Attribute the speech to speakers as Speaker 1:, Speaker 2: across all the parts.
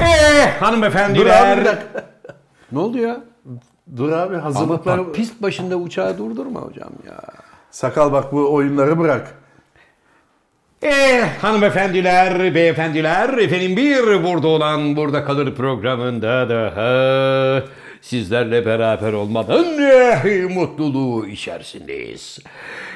Speaker 1: Eh, hanımefendiler.
Speaker 2: Dur abi bir dakika.
Speaker 3: Ne oldu ya?
Speaker 2: Dur abi hazırlıkları...
Speaker 3: Bak, pist başında uçağı durdurma hocam ya.
Speaker 2: Sakal bak bu oyunları bırak.
Speaker 1: Eh hanımefendiler, beyefendiler, efendim bir burada olan burada kalır programında daha sizlerle beraber olmanın eh, mutluluğu içerisindeyiz.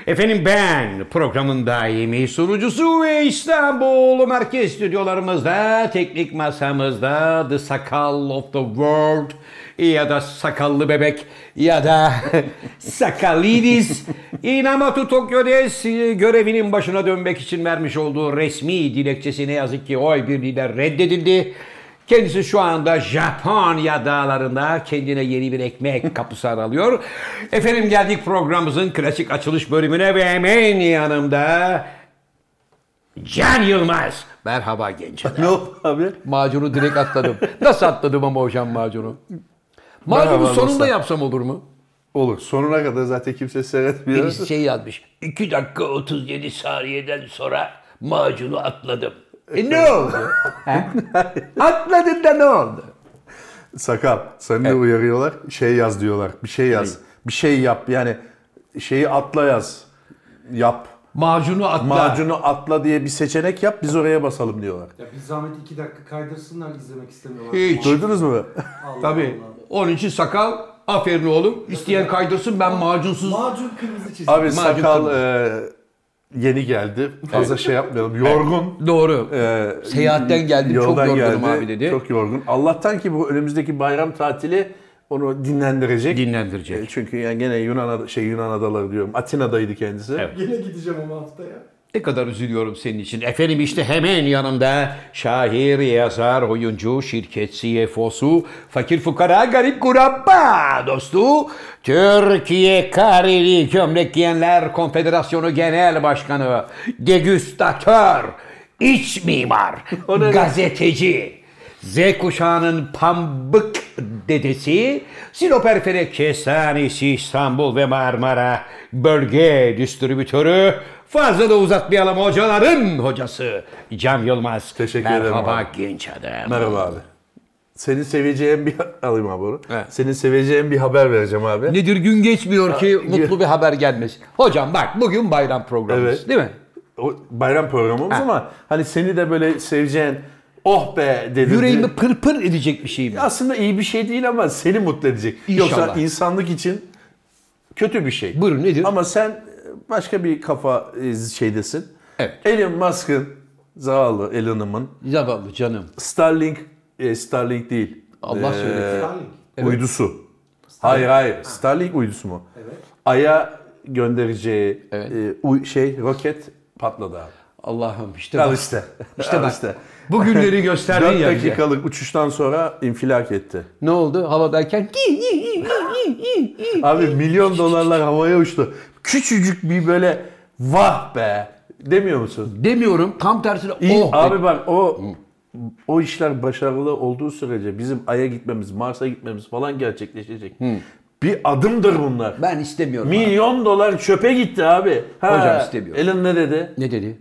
Speaker 1: Efendim ben programın daimi sunucusu ve İstanbul merkez stüdyolarımızda, teknik masamızda The Sakal of the World ya da sakallı bebek ya da sakalidis Inamoto Tokyo Des e, görevinin başına dönmek için vermiş olduğu resmi dilekçesi ne yazık ki oy birliğiyle reddedildi. Kendisi şu anda Japonya dağlarında kendine yeni bir ekmek kapısı aralıyor. Efendim geldik programımızın klasik açılış bölümüne ve hemen yanımda Can Yılmaz. Merhaba gençler.
Speaker 2: Ne oldu abi?
Speaker 3: Macunu direkt atladım. Nasıl atladım ama hocam macunu? Macunu
Speaker 2: Merhaba
Speaker 3: sonunda
Speaker 2: dostlar.
Speaker 3: yapsam olur mu?
Speaker 2: Olur. Sonuna kadar zaten kimse seyretmiyor.
Speaker 3: Birisi şey yazmış. 2 dakika 37 saniyeden sonra macunu atladım. E ne oldu? He? Atladın da ne oldu?
Speaker 2: Sakal seni de uyarıyorlar. Şey yaz diyorlar. Bir şey yaz. Bir şey yap. Yani şeyi atla yaz. Yap.
Speaker 3: Macunu atla.
Speaker 2: Macunu atla diye bir seçenek yap. Biz oraya basalım diyorlar.
Speaker 4: Ya bir zahmet iki dakika kaydırsınlar izlemek istemiyorlar.
Speaker 1: Hiç.
Speaker 2: Duydunuz mu?
Speaker 4: Allah
Speaker 1: Tabii. Onun için sakal aferin oğlum. İsteyen kaydırsın ben macunsuz.
Speaker 4: Allah. Macun kırmızı çizgi.
Speaker 2: Abi
Speaker 3: Macun
Speaker 2: sakal e, yeni geldi. Fazla şey yapmayalım. Yorgun.
Speaker 3: Doğru.
Speaker 2: E,
Speaker 3: Seyahatten geldim, çok
Speaker 2: yoldan
Speaker 3: yorgunum abi dedi.
Speaker 2: Çok yorgun. Allah'tan ki bu önümüzdeki bayram tatili onu dinlendirecek. E,
Speaker 1: Dinlendirecek.
Speaker 2: Çünkü yani gene Yunan ada- şey Yunan adaları diyorum. Atina'daydı kendisi.
Speaker 1: Evet.
Speaker 4: Yine gideceğim ama haftaya.
Speaker 1: Ne kadar üzülüyorum senin için. Efendim işte hemen yanımda şair, yazar, oyuncu, şirket CFO'su, fakir fukara, garip kurabba dostu, Türkiye Kareli Gömlek Giyenler Konfederasyonu Genel Başkanı, degüstatör, iç mimar, gazeteci, Z kuşağının pambık dedesi, Siloperfere Kestanesi İstanbul ve Marmara bölge distribütörü, fazla da uzatmayalım hocaların hocası Cem Yılmaz.
Speaker 2: Teşekkür
Speaker 1: Merhaba
Speaker 2: ederim
Speaker 1: Merhaba genç adam.
Speaker 2: Merhaba abi. Senin seveceğin bir alayım abi onu.
Speaker 1: Evet.
Speaker 2: Senin seveceğin bir haber vereceğim abi.
Speaker 3: Nedir gün geçmiyor ki mutlu bir haber gelmez. Hocam bak bugün bayram programımız
Speaker 2: Evet.
Speaker 3: değil mi?
Speaker 2: O bayram programımız ama hani seni de böyle seveceğin oh be dedi.
Speaker 3: Yüreğimi pırpır edecek bir şey mi?
Speaker 2: aslında iyi bir şey değil ama seni mutlu edecek.
Speaker 3: İnşallah.
Speaker 2: Yoksa insanlık için kötü bir şey.
Speaker 3: Buyurun nedir?
Speaker 2: Ama sen başka bir kafa e, şeydesin.
Speaker 3: Evet.
Speaker 2: Elon Musk'ın zavallı Elon'ımın
Speaker 3: Zavallı canım.
Speaker 2: Starlink e, Starlink değil.
Speaker 3: Allah söylesin.
Speaker 4: Starlink.
Speaker 2: Uydusu. Hayır hayır. Starlink uydusu mu?
Speaker 4: Evet.
Speaker 2: Ay'a göndereceği
Speaker 3: Evet.
Speaker 2: e, uy- şey roket patladı abi.
Speaker 3: Allah'ım işte
Speaker 2: Al
Speaker 3: bak.
Speaker 2: işte.
Speaker 3: İşte
Speaker 2: Al
Speaker 3: bak.
Speaker 2: işte.
Speaker 3: Bugünleri gösterdin
Speaker 2: 4
Speaker 3: ya bize.
Speaker 2: dakikalık uçuştan sonra infilak etti.
Speaker 3: Ne oldu? Havadayken
Speaker 2: Abi milyon dolarlar havaya uçtu. Küçücük bir böyle vah be demiyor musun?
Speaker 3: demiyorum. Tam tersine
Speaker 2: İyi,
Speaker 3: oh.
Speaker 2: abi bak o o işler başarılı olduğu sürece bizim Ay'a gitmemiz, Mars'a gitmemiz falan gerçekleşecek. Bir adımdır bunlar.
Speaker 3: Hmm. Ben istemiyorum. abi.
Speaker 2: Milyon dolar çöpe gitti abi. Ha,
Speaker 3: Hocam istemiyorum.
Speaker 2: Elon ne dedi?
Speaker 3: Ne dedi?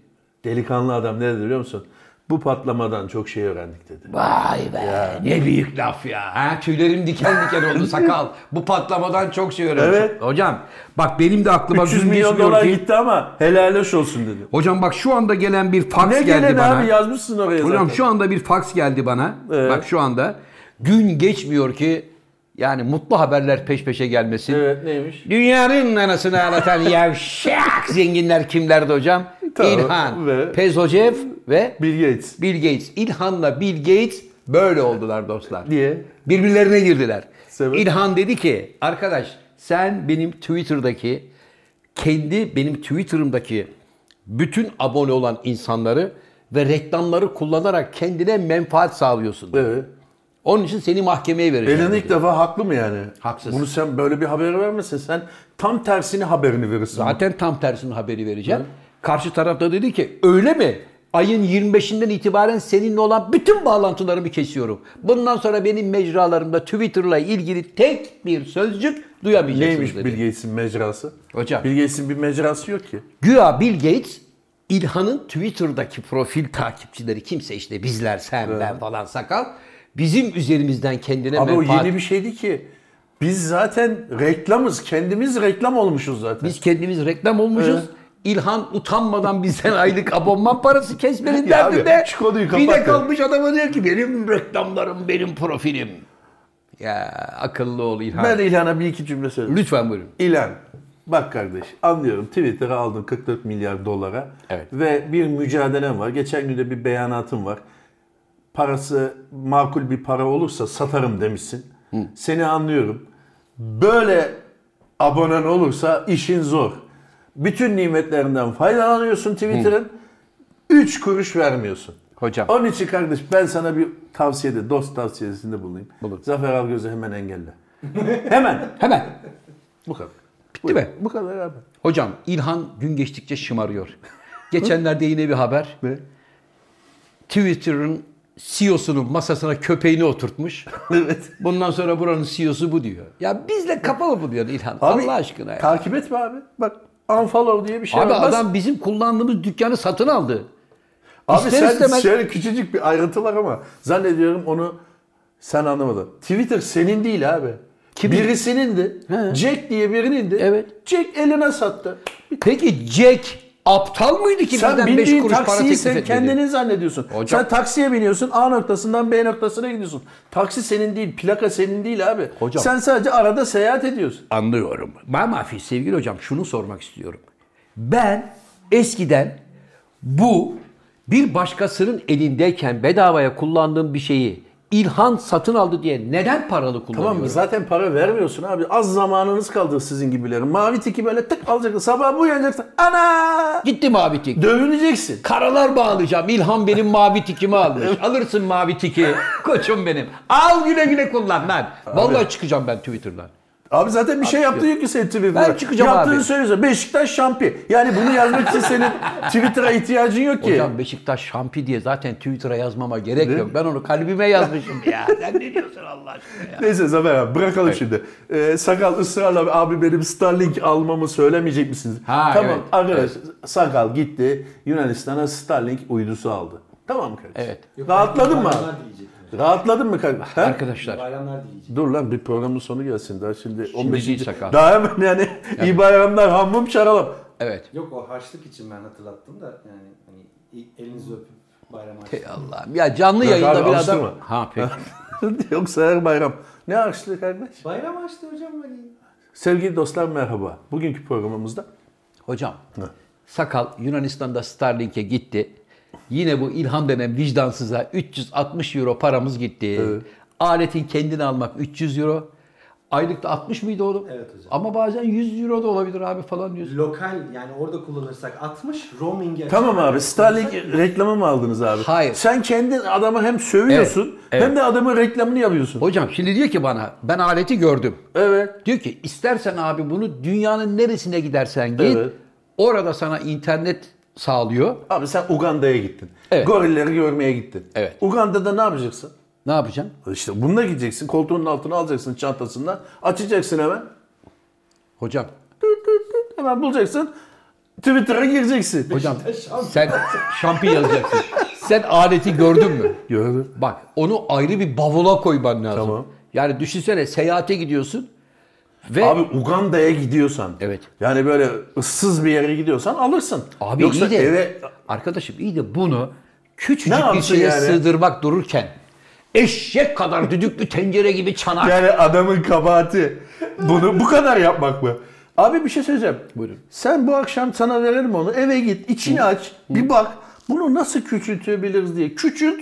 Speaker 2: Delikanlı adam ne dedi biliyor musun? Bu patlamadan çok şey öğrendik dedi.
Speaker 3: Vay be ne büyük laf ya. Ha, tüylerim diken diken oldu sakal. Bu patlamadan çok şey öğrendim.
Speaker 2: Evet.
Speaker 3: Hocam bak benim de aklıma
Speaker 2: 300
Speaker 3: gün
Speaker 2: milyon
Speaker 3: geçmiyor
Speaker 2: dolar
Speaker 3: ki-
Speaker 2: gitti ama helal hoş olsun dedi.
Speaker 3: Hocam bak şu anda gelen bir fax
Speaker 2: Ne
Speaker 3: geldi
Speaker 2: gelen
Speaker 3: bana.
Speaker 2: abi yazmışsın oraya
Speaker 3: Hocam
Speaker 2: zaten.
Speaker 3: şu anda bir fax geldi bana.
Speaker 2: Evet.
Speaker 3: Bak şu anda gün geçmiyor ki yani mutlu haberler peş peşe gelmesin.
Speaker 2: Evet neymiş?
Speaker 3: Dünyanın anasını ağlatan yavşak zenginler kimlerdi hocam?
Speaker 2: Tamam,
Speaker 3: İlhan,
Speaker 2: ve-
Speaker 3: Pezocev ve
Speaker 2: Bill Gates.
Speaker 3: Bill Gates. İlhan'la Bill Gates böyle oldular dostlar.
Speaker 2: Niye?
Speaker 3: Birbirlerine girdiler.
Speaker 2: Sebep?
Speaker 3: İlhan dedi ki arkadaş sen benim Twitter'daki kendi benim Twitter'ımdaki bütün abone olan insanları ve reklamları kullanarak kendine menfaat sağlıyorsun.
Speaker 2: Evet.
Speaker 3: Onun için seni mahkemeye vereceğim.
Speaker 2: Elon
Speaker 3: dedi.
Speaker 2: ilk defa haklı mı yani?
Speaker 3: Haksız.
Speaker 2: Bunu sen böyle bir haber vermesin. Sen tam tersini haberini verirsin.
Speaker 3: Zaten tam tersini haberi vereceğim. Karşı tarafta dedi ki öyle mi? Ayın 25'inden itibaren seninle olan bütün bağlantılarımı kesiyorum. Bundan sonra benim mecralarımda Twitter'la ilgili tek bir sözcük duyamayacaksınız
Speaker 2: Neymiş
Speaker 3: dedi.
Speaker 2: Bill Gates'in mecrası?
Speaker 3: Hocam.
Speaker 2: Bill Gates'in bir mecrası yok ki.
Speaker 3: Güya Bill Gates İlhan'ın Twitter'daki profil takipçileri kimse işte bizler sen ben falan sakal Bizim üzerimizden kendine
Speaker 2: Abi o
Speaker 3: menfaat.
Speaker 2: yeni bir şeydi ki. Biz zaten reklamız. Kendimiz reklam olmuşuz zaten.
Speaker 3: Biz kendimiz reklam olmuşuz. İlhan utanmadan bizden aylık abonman parası kesmenin derdinde.
Speaker 2: abi, şu konuyu
Speaker 3: bir de
Speaker 2: kapat ya.
Speaker 3: kalkmış adama diyor ki benim reklamlarım, benim profilim. Ya akıllı ol İlhan.
Speaker 2: Ben İlhan'a bir iki cümle söyleyeyim.
Speaker 3: Lütfen buyurun.
Speaker 2: İlan, bak kardeş anlıyorum Twitter'a aldın 44 milyar dolara
Speaker 3: Evet.
Speaker 2: ve bir mücadelem var. Geçen gün de bir beyanatım var. Parası makul bir para olursa satarım demişsin. Seni anlıyorum. Böyle abonen olursa işin zor. Bütün nimetlerinden faydalanıyorsun Twitter'ın. 3 kuruş vermiyorsun.
Speaker 3: Hocam.
Speaker 2: Onun için kardeş ben sana bir tavsiyede, dost tavsiyesinde bulunayım.
Speaker 3: Bulun.
Speaker 2: Zafer Algöz'ü hemen engelle. hemen.
Speaker 3: Hemen.
Speaker 2: Bu kadar.
Speaker 3: Bitti mi?
Speaker 2: Bu kadar abi.
Speaker 3: Hocam İlhan gün geçtikçe şımarıyor. Geçenlerde yine bir haber.
Speaker 2: Ne?
Speaker 3: Twitter'ın CEO'sunun masasına köpeğini oturtmuş.
Speaker 2: evet.
Speaker 3: Bundan sonra buranın CEO'su bu diyor. Ya bizle kapalı mı diyor İlhan? Allah aşkına ya.
Speaker 2: Takip etme abi. Bak unfollow diye bir şey
Speaker 3: Abi
Speaker 2: var. Bas-
Speaker 3: adam bizim kullandığımız dükkanı satın aldı.
Speaker 2: abi
Speaker 3: ister
Speaker 2: sen şey-
Speaker 3: istemez-
Speaker 2: şöyle küçücük bir ayrıntı var ama zannediyorum onu sen anlamadın. Twitter senin değil abi.
Speaker 3: Kimin?
Speaker 2: Birisinin de.
Speaker 3: He.
Speaker 2: Jack diye birinindi.
Speaker 3: Evet.
Speaker 2: Jack eline sattı.
Speaker 3: Peki Jack aptal mıydı ki
Speaker 2: Sen
Speaker 3: bizden 5
Speaker 2: bindiğin
Speaker 3: kuruş para
Speaker 2: taksiyi
Speaker 3: teklif
Speaker 2: sen
Speaker 3: etmedi?
Speaker 2: kendini zannediyorsun.
Speaker 3: Hocam-
Speaker 2: Sen taksiye biniyorsun A noktasından B noktasına gidiyorsun. Taksi senin değil, plaka senin değil abi.
Speaker 3: Hocam-
Speaker 2: Sen sadece arada seyahat ediyorsun.
Speaker 3: Anlıyorum. Ben mafi sevgili hocam şunu sormak istiyorum. Ben eskiden bu bir başkasının elindeyken bedavaya kullandığım bir şeyi İlhan satın aldı diye neden paralı kullanıyorum?
Speaker 2: Tamam mı? Zaten para vermiyorsun abi. Az zamanınız kaldı sizin gibilerin. Mavi tiki böyle tık alacaksın. Sabah bu uyanacaksın. Ana!
Speaker 3: Gitti mavi tik.
Speaker 2: Dövüneceksin.
Speaker 3: Karalar bağlayacağım. İlhan benim mavi tikimi almış. Alırsın mavi tiki. Koçum benim. Al güle güle kullan lan. Vallahi çıkacağım ben Twitter'dan.
Speaker 2: Abi zaten bir şey yaptın yok ki senin Twitter'da.
Speaker 3: Ben çıkacağım
Speaker 2: Yaptığını
Speaker 3: abi.
Speaker 2: söylüyorsun. Beşiktaş şampi. Yani bunu yazmak için senin Twitter'a ihtiyacın yok ki.
Speaker 3: Hocam Beşiktaş şampi diye zaten Twitter'a yazmama gerek yok. Ben onu kalbime yazmışım ya. Sen ne diyorsun Allah aşkına ya?
Speaker 2: Neyse Zafer abi bırakalım şimdi. Ee, sakal ısrarla abi benim Starlink almamı söylemeyecek misiniz?
Speaker 3: Ha,
Speaker 2: tamam
Speaker 3: evet,
Speaker 2: arkadaş Sakal gitti Yunanistan'a Starlink uydusu aldı. Tamam mı kardeş?
Speaker 3: Evet.
Speaker 2: Rahatladın mı abi?
Speaker 4: Bayramlar diyecek.
Speaker 2: Rahatladın mı kardeş? Ha?
Speaker 3: Arkadaşlar
Speaker 4: Bayramlar diyecek.
Speaker 2: Dur lan bir programın sonu gelsin daha şimdi, 15.
Speaker 3: değil sakal.
Speaker 2: Daha hemen yani, iyi bayramlar hammum şaralım.
Speaker 3: evet.
Speaker 4: Yok o harçlık için ben hatırlattım da yani hani elinizi öpüp bayram harçlık.
Speaker 3: Ey Allah'ım ya canlı
Speaker 2: Yok
Speaker 3: yayında
Speaker 2: abi,
Speaker 3: bir
Speaker 2: alıştırma.
Speaker 3: adam. Ha peki.
Speaker 2: Yoksa her bayram. Ne harçlık kardeş?
Speaker 4: Bayram harçlığı hocam hani.
Speaker 2: Sevgili dostlar merhaba. Bugünkü programımızda
Speaker 3: Hocam sakal Yunanistan'da Starlink'e gitti. Yine bu İlhan denen vicdansıza 360 euro paramız gitti. Aletin kendini almak 300 euro. Aylıkta 60 mıydı oğlum?
Speaker 4: Evet hocam.
Speaker 3: Ama bazen 100 euro da olabilir abi falan diyorsun.
Speaker 4: Lokal yani orada kullanırsak 60, roaming'e
Speaker 2: Tamam abi Starlink reklamı mı aldınız abi?
Speaker 3: Hayır.
Speaker 2: Sen kendin adamı hem sövüyorsun
Speaker 3: Evet, evet.
Speaker 2: hem de adamın reklamını yapıyorsun.
Speaker 3: Hocam şimdi diyor ki bana ben aleti gördüm.
Speaker 2: Evet.
Speaker 3: Diyor ki istersen abi bunu dünyanın neresine gidersen git.
Speaker 2: Evet.
Speaker 3: Orada sana internet sağlıyor.
Speaker 2: Abi sen Uganda'ya gittin.
Speaker 3: Evet.
Speaker 2: Gorilleri görmeye gittin.
Speaker 3: Evet.
Speaker 2: Uganda'da ne yapacaksın?
Speaker 3: Ne yapacaksın?
Speaker 2: İşte bununla gideceksin. Koltuğunun altına alacaksın çantasından. Açacaksın hemen.
Speaker 3: Hocam,
Speaker 2: Hemen bulacaksın. Twitter'a gireceksin.
Speaker 3: hocam sen şampiyon yazacaksın. sen aleti gördün mü?
Speaker 2: Gördüm.
Speaker 3: Bak onu ayrı bir bavula koyman lazım.
Speaker 2: Tamam.
Speaker 3: Yani düşünsene seyahate gidiyorsun ve
Speaker 2: Abi Uganda'ya gidiyorsan.
Speaker 3: Evet.
Speaker 2: Yani böyle ıssız bir yere gidiyorsan alırsın.
Speaker 3: abi
Speaker 2: Yoksa
Speaker 3: iyi de
Speaker 2: eve
Speaker 3: arkadaşım iyi de bunu
Speaker 2: Ne
Speaker 3: küçücük bir
Speaker 2: yapsın
Speaker 3: şeye
Speaker 2: yani?
Speaker 3: sığdırmak dururken eşek kadar düdüklü tencere gibi çanak.
Speaker 2: Yani adamın kabahati. Bunu bu kadar yapmak mı? Abi bir şey söyleyeceğim.
Speaker 3: Buyurun.
Speaker 2: Sen bu akşam sana veririm onu. Eve git, içini aç, bir bak. Bunu nasıl küçültebiliriz diye. Küçült.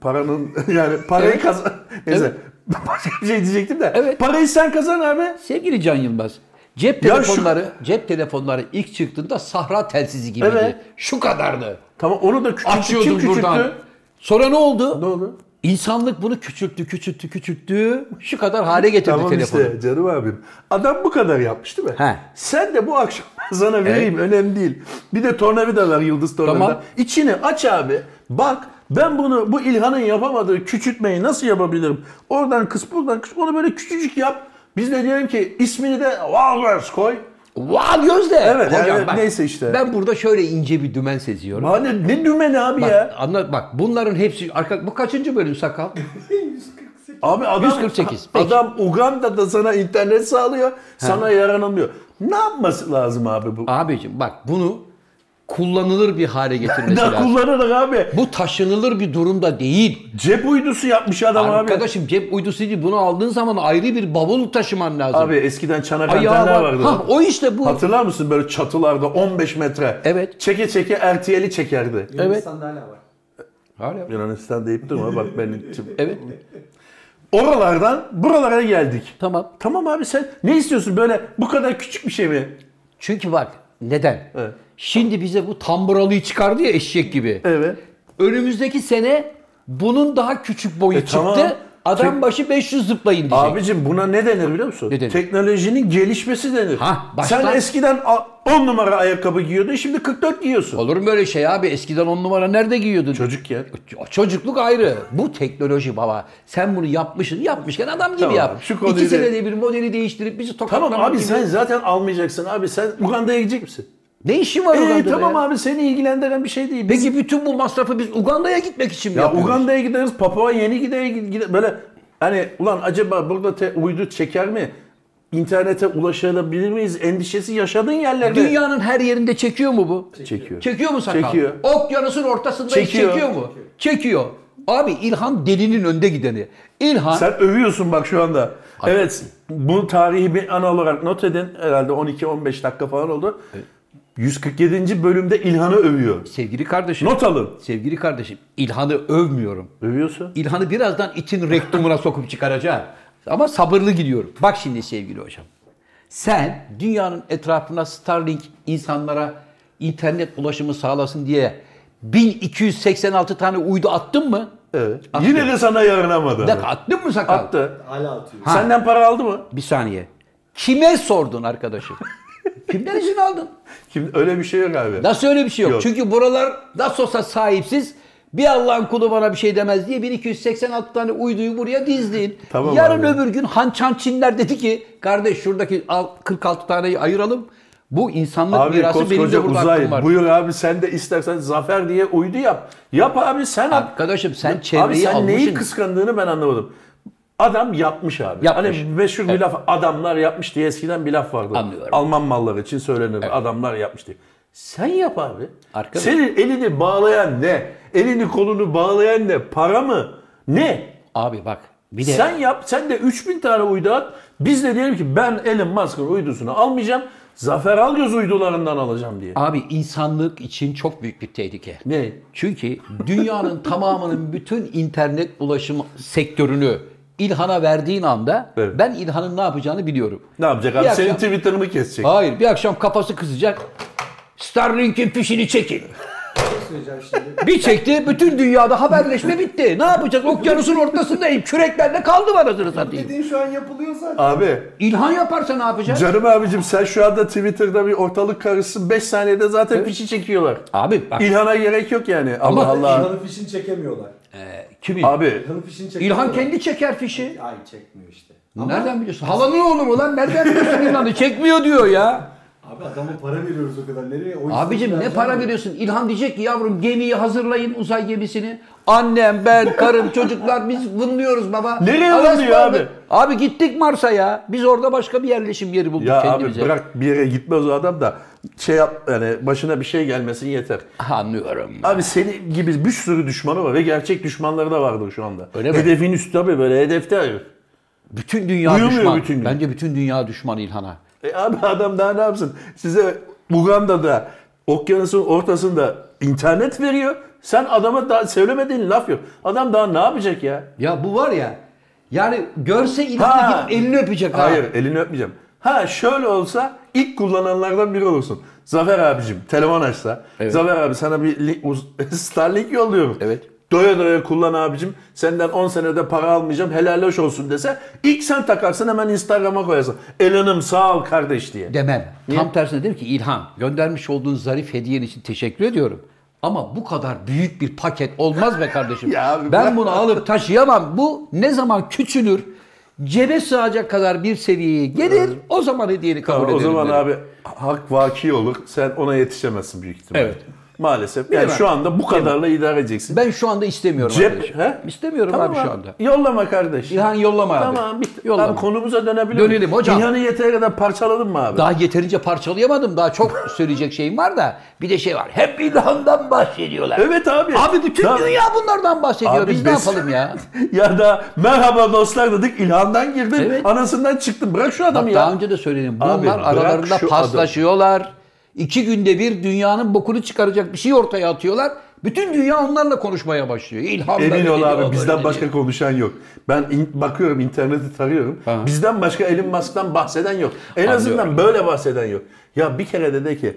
Speaker 2: Paranın yani parayı
Speaker 3: Evet.
Speaker 2: kazan. Neyse. Başka bir şey diyecektim de.
Speaker 3: Evet.
Speaker 2: Parayı sen kazan abi.
Speaker 3: Sevgili Can Yılmaz, cep
Speaker 2: Ya
Speaker 3: telefonları cep telefonları ilk çıktığında sahra telsizi gibiydi.
Speaker 2: Evet.
Speaker 3: Şu kadardı.
Speaker 2: Tamam onu da küçülttü. Kim
Speaker 3: Açıyordun
Speaker 2: küçülttü?
Speaker 3: buradan. Sonra ne oldu?
Speaker 2: Ne oldu?
Speaker 3: İnsanlık bunu küçülttü, küçülttü, küçülttü. Şu kadar hale getirdi
Speaker 2: Tamam
Speaker 3: telefonu.
Speaker 2: işte canım abim. Adam bu kadar yapmış değil mi?
Speaker 3: He.
Speaker 2: Sen de bu akşam sana vereyim önemli değil. Bir de tornavida var yıldız tornavida.
Speaker 3: Tamam.
Speaker 2: İçini aç abi. Bak ben bunu bu İlhan'ın yapamadığı küçültmeyi nasıl yapabilirim? Oradan kıs buradan kıs onu böyle küçücük yap. Biz de diyelim ki ismini de Walrus koy.
Speaker 3: Vav gözle.
Speaker 2: Evet, yani neyse işte.
Speaker 3: Ben burada şöyle ince bir dümen seziyorum.
Speaker 2: Bana Hani ne, ne dümeni abi
Speaker 3: Bak,
Speaker 2: ya?
Speaker 3: anla, bak bunların hepsi arka, bu kaçıncı bölüm sakal?
Speaker 2: Abi adam,
Speaker 3: 148, peki.
Speaker 2: adam Uganda'da sana internet sağlıyor, sana yaranamıyor. Ne yapması lazım abi bu?
Speaker 3: Abicim bak bunu kullanılır bir hale getirmesi
Speaker 2: Da
Speaker 3: lazım.
Speaker 2: kullanarak abi.
Speaker 3: Bu taşınılır bir durumda değil.
Speaker 2: Cep uydusu yapmış adam abi.
Speaker 3: Arkadaşım cep uydusu değil. Bunu aldığın zaman ayrı bir bavul taşıman lazım.
Speaker 2: Abi eskiden çanak
Speaker 3: Ayağı
Speaker 2: antenler
Speaker 3: var.
Speaker 2: vardı.
Speaker 3: Ha, o işte bu.
Speaker 2: Hatırlar mısın böyle çatılarda 15 metre?
Speaker 3: Evet.
Speaker 2: Çeke çeke RTL'i çekerdi.
Speaker 3: Evet.
Speaker 4: Yunanistan'da hala var.
Speaker 3: Hala.
Speaker 2: Yunanistan deyip durma bak benim tipim.
Speaker 3: Evet.
Speaker 2: Oralardan buralara geldik.
Speaker 3: Tamam.
Speaker 2: Tamam abi sen ne istiyorsun böyle bu kadar küçük bir şey mi?
Speaker 3: Çünkü bak neden?
Speaker 2: Evet.
Speaker 3: Şimdi bize bu tamburalıyı çıkardı ya eşek gibi.
Speaker 2: Evet.
Speaker 3: Önümüzdeki sene bunun daha küçük boyu
Speaker 2: E,
Speaker 3: çıktı.
Speaker 2: tamam.
Speaker 3: Adam
Speaker 2: Tek-
Speaker 3: başı 500 zıplayın diyecek.
Speaker 2: Abicim buna ne denir biliyor musun?
Speaker 3: Ne denir?
Speaker 2: Teknolojinin gelişmesi denir.
Speaker 3: Ha, baştan-
Speaker 2: Sen eskiden 10 numara ayakkabı giyiyordun şimdi 44 giyiyorsun.
Speaker 3: Olur mu böyle şey abi? Eskiden on numara nerede giyiyordun?
Speaker 2: Çocuk ya.
Speaker 3: Çocukluk ayrı. Bu teknoloji baba. Sen bunu yapmışsın. Yapmışken adam gibi
Speaker 2: Tamam,
Speaker 3: yap.
Speaker 2: şu konuyu
Speaker 3: İki
Speaker 2: da-
Speaker 3: senede bir modeli değiştirip bizi tokatlamak
Speaker 2: Tamam abi
Speaker 3: gibi.
Speaker 2: sen zaten almayacaksın abi sen Uganda'ya gidecek misin?
Speaker 3: Ne işin var
Speaker 2: Ee,
Speaker 3: Uganda'da
Speaker 2: tamam
Speaker 3: ya?
Speaker 2: abi seni ilgilendiren bir şey değil. Biz-
Speaker 3: Peki bütün bu masrafı biz Uganda'ya gitmek için mi
Speaker 2: ya
Speaker 3: yapıyoruz?
Speaker 2: Uganda'ya gideriz Papua Yeni Gide'ye gide- böyle hani ulan acaba burada te- uydu çeker mi? İnternete ulaşabilir miyiz? Endişesi yaşadığın yerlerde.
Speaker 3: Dünyanın her yerinde çekiyor mu bu?
Speaker 2: çekiyor.
Speaker 3: Çekiyor mu sakal?
Speaker 2: Çekiyor.
Speaker 3: Okyanusun ortasında çekiyor.
Speaker 2: Çekiyor.
Speaker 3: çekiyor mu? Çekiyor. Abi İlhan delinin önde gideni. İlhan
Speaker 2: Sen övüyorsun bak şu anda. Evet bu tarihi bir an olarak not edin. Herhalde 12-15 dakika falan oldu. 147. bölümde İlhan'ı övüyor.
Speaker 3: sevgili kardeşim.
Speaker 2: Not alın.
Speaker 3: Sevgili kardeşim İlhan'ı övmüyorum.
Speaker 2: Övüyorsun.
Speaker 3: İlhan'ı birazdan itin rektumuna sokup çıkaracağım. Ama sabırlı gidiyorum. Bak şimdi sevgili hocam. Sen dünyanın etrafına Starlink insanlara internet ulaşımı sağlasın diye 1286 tane uydu attın mı?
Speaker 2: Evet.
Speaker 3: Attı.
Speaker 2: Yine de sana yaranamadı.
Speaker 3: Bir dakika attın mı sakal?
Speaker 2: Attı.
Speaker 4: Hala atıyor.
Speaker 3: Ha.
Speaker 2: Senden para aldı mı?
Speaker 3: Bir saniye. Kime sordun arkadaşım? Kimden izin aldın?
Speaker 2: Kim, öyle bir şey yok abi.
Speaker 3: Nasıl öyle bir şey yok?
Speaker 2: Yok.
Speaker 3: Çünkü buralar nasıl olsa sahipsiz. Bir Allah'ın kulu bana bir şey demez diye 1286 tane uyduyu buraya dizdin.
Speaker 2: Tamam
Speaker 3: Yarın
Speaker 2: abi.
Speaker 3: öbür gün Han Çan Çinler dedi ki kardeş şuradaki al- 46 taneyi ayıralım. Bu insanlık
Speaker 2: Abi
Speaker 3: mirası benim
Speaker 2: koskoca
Speaker 3: de burada hakkım var.
Speaker 2: uzay. Buyur abi sen de istersen Zafer diye uydu yap. Yap abi sen yap.
Speaker 3: Arkadaşım sen çevreyi
Speaker 2: Abi sen
Speaker 3: almışsın.
Speaker 2: neyi kıskandığını ben anlamadım. Adam yapmış abi.
Speaker 3: Yapmış.
Speaker 2: Hani meşhur bir laf adamlar yapmış diye eskiden bir laf vardı.
Speaker 3: Anlıyorum.
Speaker 2: Alman malları için söylenir adamlar yapmış diye. Sen yap abi.
Speaker 3: Arkadaş.
Speaker 2: Senin elini bağlayan ne? Elini kolunu bağlayan ne? Para mı? Ne?
Speaker 3: Abi bak bir de
Speaker 2: Sen yap. Sen de 3000 tane uydu at. Biz de diyelim ki ben Elon Musk'ın uydusunu almayacağım. Zafer Algöz uydularından alacağım diye.
Speaker 3: abi insanlık için çok büyük bir tehlike.
Speaker 2: Ne?
Speaker 3: Çünkü dünyanın tamamının bütün internet ulaşım sektörünü İlhan'a verdiğin anda
Speaker 2: Evet.
Speaker 3: ben İlhan'ın ne yapacağını biliyorum.
Speaker 2: Ne yapacak
Speaker 3: Bir
Speaker 2: abi?
Speaker 3: akşam-
Speaker 2: Senin Twitter'ını mı kesecek?
Speaker 3: Hayır bir akşam kafası kızacak. Starlink'in fişini çekin.
Speaker 4: Ne söyleyeceğim şimdi?
Speaker 3: Bir çekti bütün dünyada haberleşme bitti. Ne yapacağız? Okyanusun ortasındayım. Küreklerle kaldım anasını satayım.
Speaker 4: Dediğin şu an yapılıyor zaten.
Speaker 2: Abi
Speaker 3: İlhan yaparsa ne yapacağız?
Speaker 2: Canım abicim sen şu anda Twitter'da bir ortalık karışsın 5 saniyede zaten fişi çekiyorlar.
Speaker 3: Abi bak
Speaker 2: İlhan'a gerek yok yani. Allah Allah.
Speaker 4: İlhan'ın fişini çekemiyorlar.
Speaker 3: kimin?
Speaker 2: Abi
Speaker 4: İlhan'ın fişini çekemiyorlar.
Speaker 3: e, İlhan kendi çeker fişi.
Speaker 4: Ay çekmiyor işte.
Speaker 3: Nereden biliyorsun? Halanın oğlu mu lan? Nereden biliyorsun İlhan'ı? Çekmiyor diyor ya.
Speaker 4: Abi adama para veriyoruz o kadar. Nereye? O
Speaker 3: Abicim
Speaker 4: yüzden
Speaker 3: ne
Speaker 4: vereceğim
Speaker 3: para
Speaker 4: mi?
Speaker 3: veriyorsun? İlhan diyecek ki yavrum gemiyi hazırlayın uzay gemisini. Annem, ben, karım, çocuklar biz vınlıyoruz baba.
Speaker 2: Nereye
Speaker 3: Allah'a
Speaker 2: vınlıyor abi?
Speaker 3: ısmarladık. Abi gittik Mars'a ya. Biz orada başka bir yerleşim yeri bulduk
Speaker 2: ya
Speaker 3: kendimize.
Speaker 2: abi bırak bir yere gitmez o adam da şey yap yani başına bir şey gelmesin yeter.
Speaker 3: Anlıyorum.
Speaker 2: Abi senin gibi bir sürü düşmanı var ve gerçek düşmanları da vardır şu anda.
Speaker 3: Öyle mi?
Speaker 2: Hedefin üstü tabii böyle hedefte. abi.
Speaker 3: Bütün dünya
Speaker 2: Uyumuyor
Speaker 3: düşman.
Speaker 2: bütün gün.
Speaker 3: Bence bütün dünya düşman İlhan'a.
Speaker 2: E abi adam daha ne yapsın? Size Uganda'da okyanusun ortasında internet veriyor. Sen adama daha söylemediğin laf yok. Adam daha ne yapacak ya?
Speaker 3: Ya bu var ya. Yani görse İlhan'ı
Speaker 2: Ha.
Speaker 3: gidip elini öpecek ha.
Speaker 2: Hayır elini öpmeyeceğim. Ha şöyle olsa ilk kullananlardan biri olursun. Zafer abicim telefon açsa.
Speaker 3: Evet.
Speaker 2: Zafer abi sana bir link- uz- Starlink yolluyorum.
Speaker 3: Evet.
Speaker 2: Doya doya kullan abicim. Senden 10 senede para almayacağım. Helal hoş olsun dese. ilk sen takarsın hemen Instagram'a koyarsın. Elanım sağ ol kardeş diye.
Speaker 3: Demem. Tam tersine derim ki İlhan göndermiş olduğun zarif hediyen için teşekkür ediyorum. Ama bu kadar büyük bir paket olmaz be kardeşim.
Speaker 2: Ya abi
Speaker 3: ben
Speaker 2: bırak.
Speaker 3: bunu alıp taşıyamam. Bu ne zaman küçülür, cebe sığacak kadar bir seviyeye gelir. O zaman hediyeni kabul
Speaker 2: Ama
Speaker 3: ederim.
Speaker 2: o zaman
Speaker 3: derim.
Speaker 2: abi hak vaki olur. Sen ona yetişemezsin büyük ihtimalle.
Speaker 3: Evet.
Speaker 2: Maalesef. Yani
Speaker 3: mi?
Speaker 2: şu anda bu kadarla idare edeceksin.
Speaker 3: Ben şu anda istemiyorum
Speaker 2: Cep,
Speaker 3: arkadaşım.
Speaker 2: he?
Speaker 3: İstemiyorum
Speaker 2: Tamam
Speaker 3: abi şu anda.
Speaker 2: Yollama kardeş.
Speaker 3: İlhan yollama abi.
Speaker 2: Tamam bitti.
Speaker 3: Yollama.
Speaker 2: Abi konumuza dönebilir
Speaker 3: Dönelim
Speaker 2: miyim?
Speaker 3: hocam.
Speaker 2: İlhan'ı yeteri kadar parçaladın mı abi?
Speaker 3: Daha yeterince parçalayamadım. Daha çok söyleyecek şeyim var da. Bir de şey var. Hep İlhan'dan bahsediyorlar.
Speaker 2: Evet abi.
Speaker 3: Abi bütün
Speaker 2: Daha-
Speaker 3: dünya bunlardan bahsediyor.
Speaker 2: Abi
Speaker 3: Biz, ne
Speaker 2: biz-
Speaker 3: yapalım ya?
Speaker 2: ya da merhaba dostlar dedik İlhan'dan girdin.
Speaker 3: Evet.
Speaker 2: Anasından çıktın. Bırak şu
Speaker 3: Bak
Speaker 2: adamı ya.
Speaker 3: daha önce de söyledim. Bunlar
Speaker 2: Abi bırak
Speaker 3: aralarında
Speaker 2: şu
Speaker 3: paslaşıyorlar. İki günde bir dünyanın bokunu çıkaracak bir şey ortaya atıyorlar. Bütün dünya onlarla konuşmaya başlıyor. İlham
Speaker 2: Emin
Speaker 3: böyle
Speaker 2: ol
Speaker 3: diyor, böyle
Speaker 2: abi bizden başka
Speaker 3: diyor.
Speaker 2: konuşan yok. Ben in- bakıyorum interneti tarıyorum. Bizden başka Elon Musk'tan bahseden yok. En azından böyle bahseden yok. Ya bir kere de de ki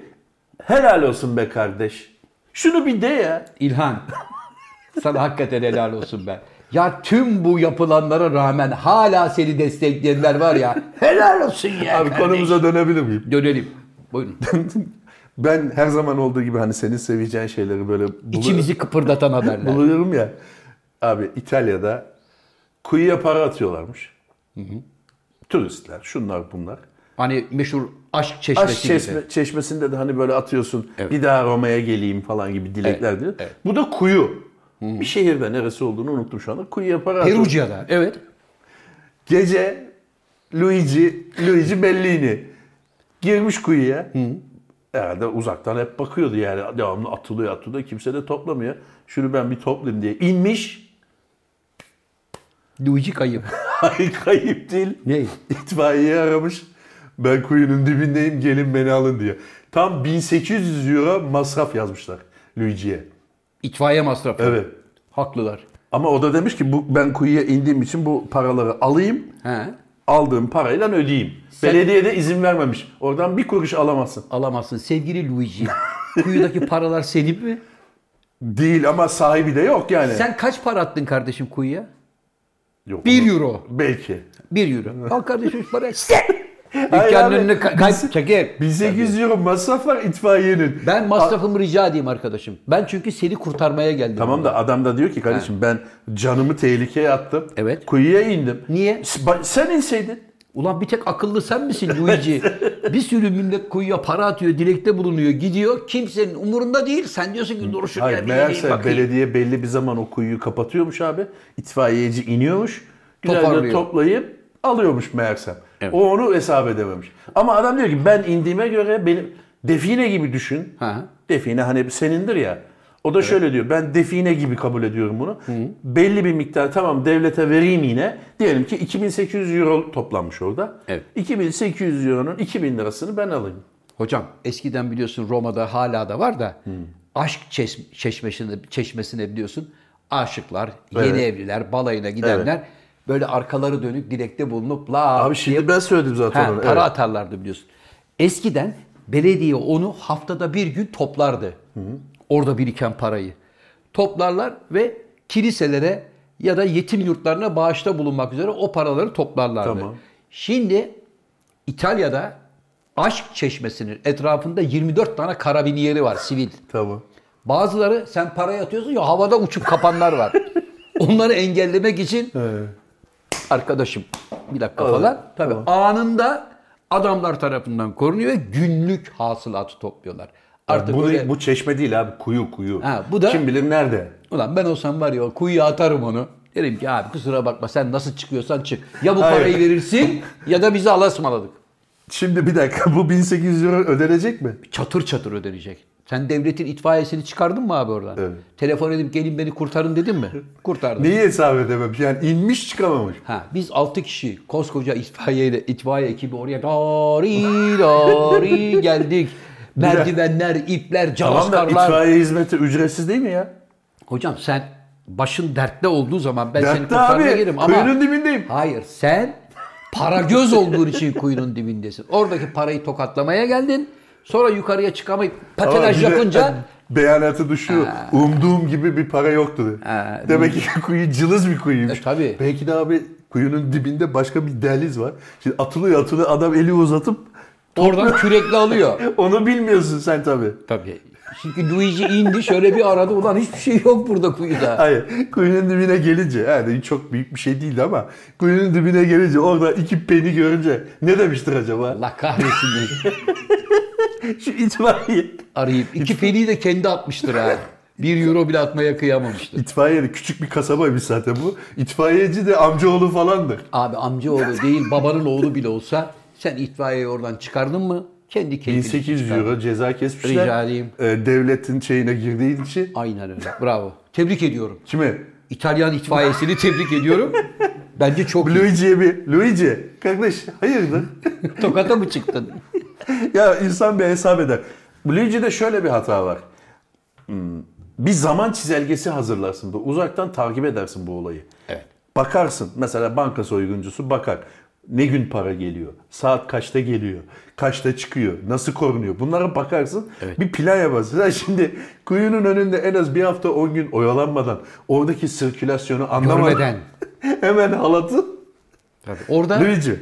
Speaker 2: helal olsun be kardeş. Şunu bir de ya.
Speaker 3: İlhan. Sana hakikaten helal olsun ben. Ya tüm bu yapılanlara rağmen hala seni destekleyenler var ya. Helal olsun ya.
Speaker 2: Abi
Speaker 3: kardeşim.
Speaker 2: konumuza dönebilir miyim?
Speaker 3: Dönelim. Buyurun.
Speaker 2: Ben her zaman olduğu gibi hani senin seveceğin şeyleri böyle bulu-
Speaker 3: İçimizi kıpırdatan haberler.
Speaker 2: buluyorum ya. Abi İtalya'da kuyuya para atıyorlarmış. Turistler şunlar bunlar.
Speaker 3: Hani meşhur aşk çeşmesi
Speaker 2: Aşk çeşme-
Speaker 3: gibi.
Speaker 2: çeşmesinde de hani böyle atıyorsun
Speaker 3: Evet.
Speaker 2: bir daha Roma'ya geleyim falan gibi dilekler
Speaker 3: Evet,
Speaker 2: diyor.
Speaker 3: evet.
Speaker 2: Bu da kuyu. Bir şehirde neresi olduğunu unuttum şu anda. Kuyuya para atıyor.
Speaker 3: Perugia'da. Evet.
Speaker 2: Gece Luigi, Luigi Bellini girmiş kuyuya. Herhalde uzaktan hep bakıyordu yani devamlı atılıyor atılıyor kimse de toplamıyor. Şunu ben bir toplayayım diye inmiş.
Speaker 3: Luigi kayıp.
Speaker 2: Ay kayıp değil.
Speaker 3: Ne?
Speaker 2: İtfaiyeyi aramış. Ben kuyunun dibindeyim gelin beni alın diye. Tam 1800 euro masraf yazmışlar Luigi'ye.
Speaker 3: İtfaiye masrafı.
Speaker 2: Evet.
Speaker 3: Haklılar.
Speaker 2: Ama o da demiş ki bu ben kuyuya indiğim için bu paraları alayım.
Speaker 3: He.
Speaker 2: Aldığım parayla ödeyeyim. Belediye de izin vermemiş. Oradan bir kuruş alamazsın.
Speaker 3: Alamazsın. Sevgili Luigi. Kuyudaki paralar senin mi?
Speaker 2: Değil ama sahibi de yok yani.
Speaker 3: Sen kaç para attın kardeşim kuyuya?
Speaker 2: Yok,
Speaker 3: 1
Speaker 2: onu-
Speaker 3: euro.
Speaker 2: Belki.
Speaker 3: 1 euro. Al kardeşim şu parayı. Sen!
Speaker 2: Hayır
Speaker 3: Dükkanın
Speaker 2: abi,
Speaker 3: önüne ka- kayıp çeker.
Speaker 2: 1800 euro masraf var itfaiyenin.
Speaker 3: Ben masrafımı rica edeyim arkadaşım. Ben çünkü seni kurtarmaya geldim.
Speaker 2: Tamam da adam da diyor ki kardeşim ben canımı tehlikeye attım.
Speaker 3: Evet.
Speaker 2: Kuyuya indim.
Speaker 3: Niye?
Speaker 2: S- ba- Sen inseydin.
Speaker 3: Ulan bir tek akıllı sen misin Luigi? bir sürü millet kuyuya para atıyor, dilekte bulunuyor, gidiyor. Kimsenin umurunda değil. Sen diyorsun ki dur şuraya
Speaker 2: Hayır
Speaker 3: bir yere
Speaker 2: meğerse
Speaker 3: bakayım.
Speaker 2: belediye belli bir zaman o kuyuyu kapatıyormuş abi. İtfaiyeci iniyormuş. Güzel de
Speaker 3: Toparlıyor.
Speaker 2: toplayıp alıyormuş meğersem. O onu hesap edememiş. Ama adam diyor ki ben indiğime göre benim define gibi düşün.
Speaker 3: Ha.
Speaker 2: Define hani senindir ya. O da şöyle diyor ben define gibi kabul ediyorum bunu. Belli bir miktar tamam devlete vereyim yine. Diyelim ki 2800 euro toplanmış orada.
Speaker 3: Evet.
Speaker 2: 2800 euronun 2000 lirasını ben alayım.
Speaker 3: Hocam eskiden biliyorsun Roma'da hala da var da aşk çeş- çeşmesine, çeşmesine biliyorsun aşıklar, yeni
Speaker 2: Evet.
Speaker 3: evliler, balayına gidenler böyle arkaları dönük dilekte bulunup la
Speaker 2: Abi şimdi ben söyledim zaten
Speaker 3: Ha,
Speaker 2: onu.
Speaker 3: para
Speaker 2: Evet.
Speaker 3: atarlardı biliyorsun. Eskiden belediye onu haftada bir gün toplardı. Orada biriken parayı. Toplarlar ve kiliselere ya da yetim yurtlarına bağışta bulunmak üzere o paraları toplarlardı.
Speaker 2: Tamam.
Speaker 3: Şimdi İtalya'da aşk çeşmesinin etrafında 24 tane karabiniyeri var sivil.
Speaker 2: Tamam.
Speaker 3: Bazıları sen parayı atıyorsun ya havada uçup kapanlar var. Onları engellemek için arkadaşım bir dakika
Speaker 2: Alalım.
Speaker 3: falan. Tabii anında adamlar tarafından korunuyor ve günlük hasılatı topluyorlar. Artık
Speaker 2: bu,
Speaker 3: böyle,
Speaker 2: bu çeşme değil abi kuyu kuyu.
Speaker 3: Ha, bu da-
Speaker 2: Kim bilir nerede?
Speaker 3: ulan ben olsam var ya o kuyuya atarım onu. Derim ki abi kusura bakma sen nasıl çıkıyorsan çık. Ya bu
Speaker 2: Hayır.
Speaker 3: parayı verirsin ya da bizi alasmaladık.
Speaker 2: Şimdi bir dakika bu 1800 euro ödenecek mi?
Speaker 3: Çatır çatır ödenecek. Sen devletin itfaiyesini çıkardın mı abi oradan?
Speaker 2: Evet.
Speaker 3: Telefon edip gelin beni kurtarın dedin mi? Kurtardın.
Speaker 2: Neyi hesap edememiş? Yani inmiş çıkamamış.
Speaker 3: Ha, biz 6 kişi koskoca itfaiye ile itfaiye ekibi oraya dari dari geldik. Merdivenler, ipler,
Speaker 2: Tamam da
Speaker 3: camaskarlar.
Speaker 2: itfaiye hizmeti ücretsiz değil mi ya?
Speaker 3: Hocam sen başın dertte olduğu zaman ben seni
Speaker 2: Dertte
Speaker 3: kurtarmaya
Speaker 2: abi.
Speaker 3: gelirim ama
Speaker 2: Kuyunun dibindeyim.
Speaker 3: hayır sen para göz olduğun için kuyunun dibindesin. Oradaki parayı tokatlamaya geldin. Sonra yukarıya çıkamayıp
Speaker 2: Ama
Speaker 3: patinaj
Speaker 2: bir de,
Speaker 3: yapınca
Speaker 2: yani, beyanatı düşüyor. Umduğum gibi bir para yoktu.
Speaker 3: Ha,
Speaker 2: Demek ki kuyu cılız bir kuyuymuş.
Speaker 3: E, tabii.
Speaker 2: Belki de abi kuyunun dibinde başka bir deliz var. Şimdi atılıyor atılıyor adam eli uzatıp
Speaker 3: oradan kürekle alıyor.
Speaker 2: onu bilmiyorsun sen tabii.
Speaker 3: Tabii. Çünkü Luigi indi şöyle bir aradı. Ulan hiçbir şey yok burada kuyuda.
Speaker 2: Hayır. Kuyunun dibine gelince yani çok büyük bir şey değildi ama kuyunun dibine gelince orada iki peni görünce ne demiştir acaba?
Speaker 3: Allah kahretsin. beni.
Speaker 2: Şu itfaiye.
Speaker 3: Arayıp. iki peliği de kendi atmıştır ha. Bir euro bile atmaya kıyamamıştır.
Speaker 2: İtfaiye de küçük bir kasabaymış zaten bu. İtfaiyeci de amcaoğlu falandır.
Speaker 3: Abi amcaoğlu değil babanın oğlu bile olsa sen itfaiyeyi oradan çıkardın mı kendi keyfini
Speaker 2: 1800
Speaker 3: çıkardın.
Speaker 2: euro ceza kesmişler.
Speaker 3: Rica edeyim.
Speaker 2: Ee, devletin şeyine girdiği için.
Speaker 3: Aynen öyle. Bravo. Tebrik ediyorum.
Speaker 2: Kime?
Speaker 3: İtalyan itfaiyesini tebrik ediyorum. Bence çok iyi.
Speaker 2: Luigi'ye bir. Luigi. Kardeş hayırdır?
Speaker 3: Tokata mı çıktın?
Speaker 2: ya insan bir hesap eder. Luigi'de şöyle bir hata var. Hmm, Bir zaman çizelgesi hazırlarsın. Bu Uzaktan takip edersin bu olayı.
Speaker 3: Evet.
Speaker 2: Bakarsın. Mesela banka soyguncusu bakar. Ne gün para geliyor? Saat kaçta geliyor? Kaçta çıkıyor? Nasıl korunuyor? Bunlara bakarsın. Bir plan yaparsın. Sen şimdi kuyunun önünde en az bir hafta 10 gün oyalanmadan oradaki sirkülasyonu anlamadan
Speaker 3: Görmeden.
Speaker 2: hemen halatı
Speaker 3: Orada
Speaker 2: Luigi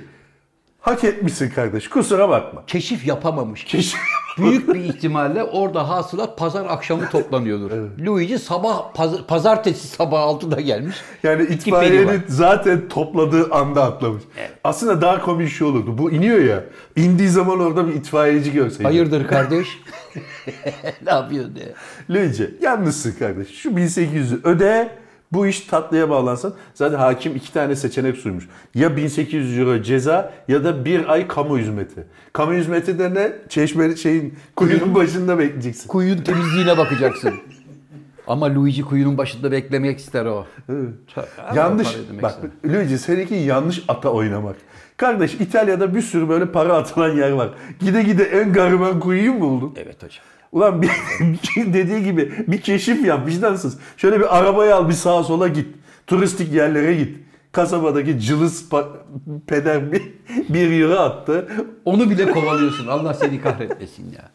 Speaker 2: hak etmişsin kardeş. Kusura bakma.
Speaker 3: keşif yapamamış.
Speaker 2: Keşke
Speaker 3: Büyük bir ihtimalle orada hasılat pazar akşamı toplanıyordur. Luigi sabah paz- pazartesi sabah 6'da gelmiş.
Speaker 2: Yani
Speaker 3: İki peri var.
Speaker 2: itfaiyenin zaten topladığı anda atlamış. Aslında daha komik şey olurdu. Bu iniyor ya. İndiği zaman orada bir itfaiyeci görseydi.
Speaker 3: Hayırdır kardeş? ne yapıyorsun diye.
Speaker 2: Luigi yalnızsın kardeş. Şu 1800'ü öde. Bu iş tatlıya bağlansın. Zaten hakim iki tane seçenek suymuş. Ya 1800 euro ceza ya da bir ay kamu hizmeti. Kamu hizmeti de ne? Çeşme şeyin kuyunun başında bekleyeceksin.
Speaker 3: Kuyunun temizliğine bakacaksın. Ama Luigi kuyunun başında beklemek ister o.
Speaker 2: yanlış.
Speaker 3: para ödemek
Speaker 2: Bak Luigi seninki yanlış ata oynamak. Kardeş İtalya'da bir sürü böyle para atılan yer var. Gide gide en gariban kuyuyu mu buldun?
Speaker 3: Evet hocam.
Speaker 2: Ulan bir, şey dediği gibi bir keşif yap vicdansız. Şöyle bir arabayı al bir sağa sola git. Turistik yerlere git. Kasabadaki cılız pa- peder bir, bir euro attı.
Speaker 3: Onu bile kovalıyorsun. Allah seni kahretmesin ya.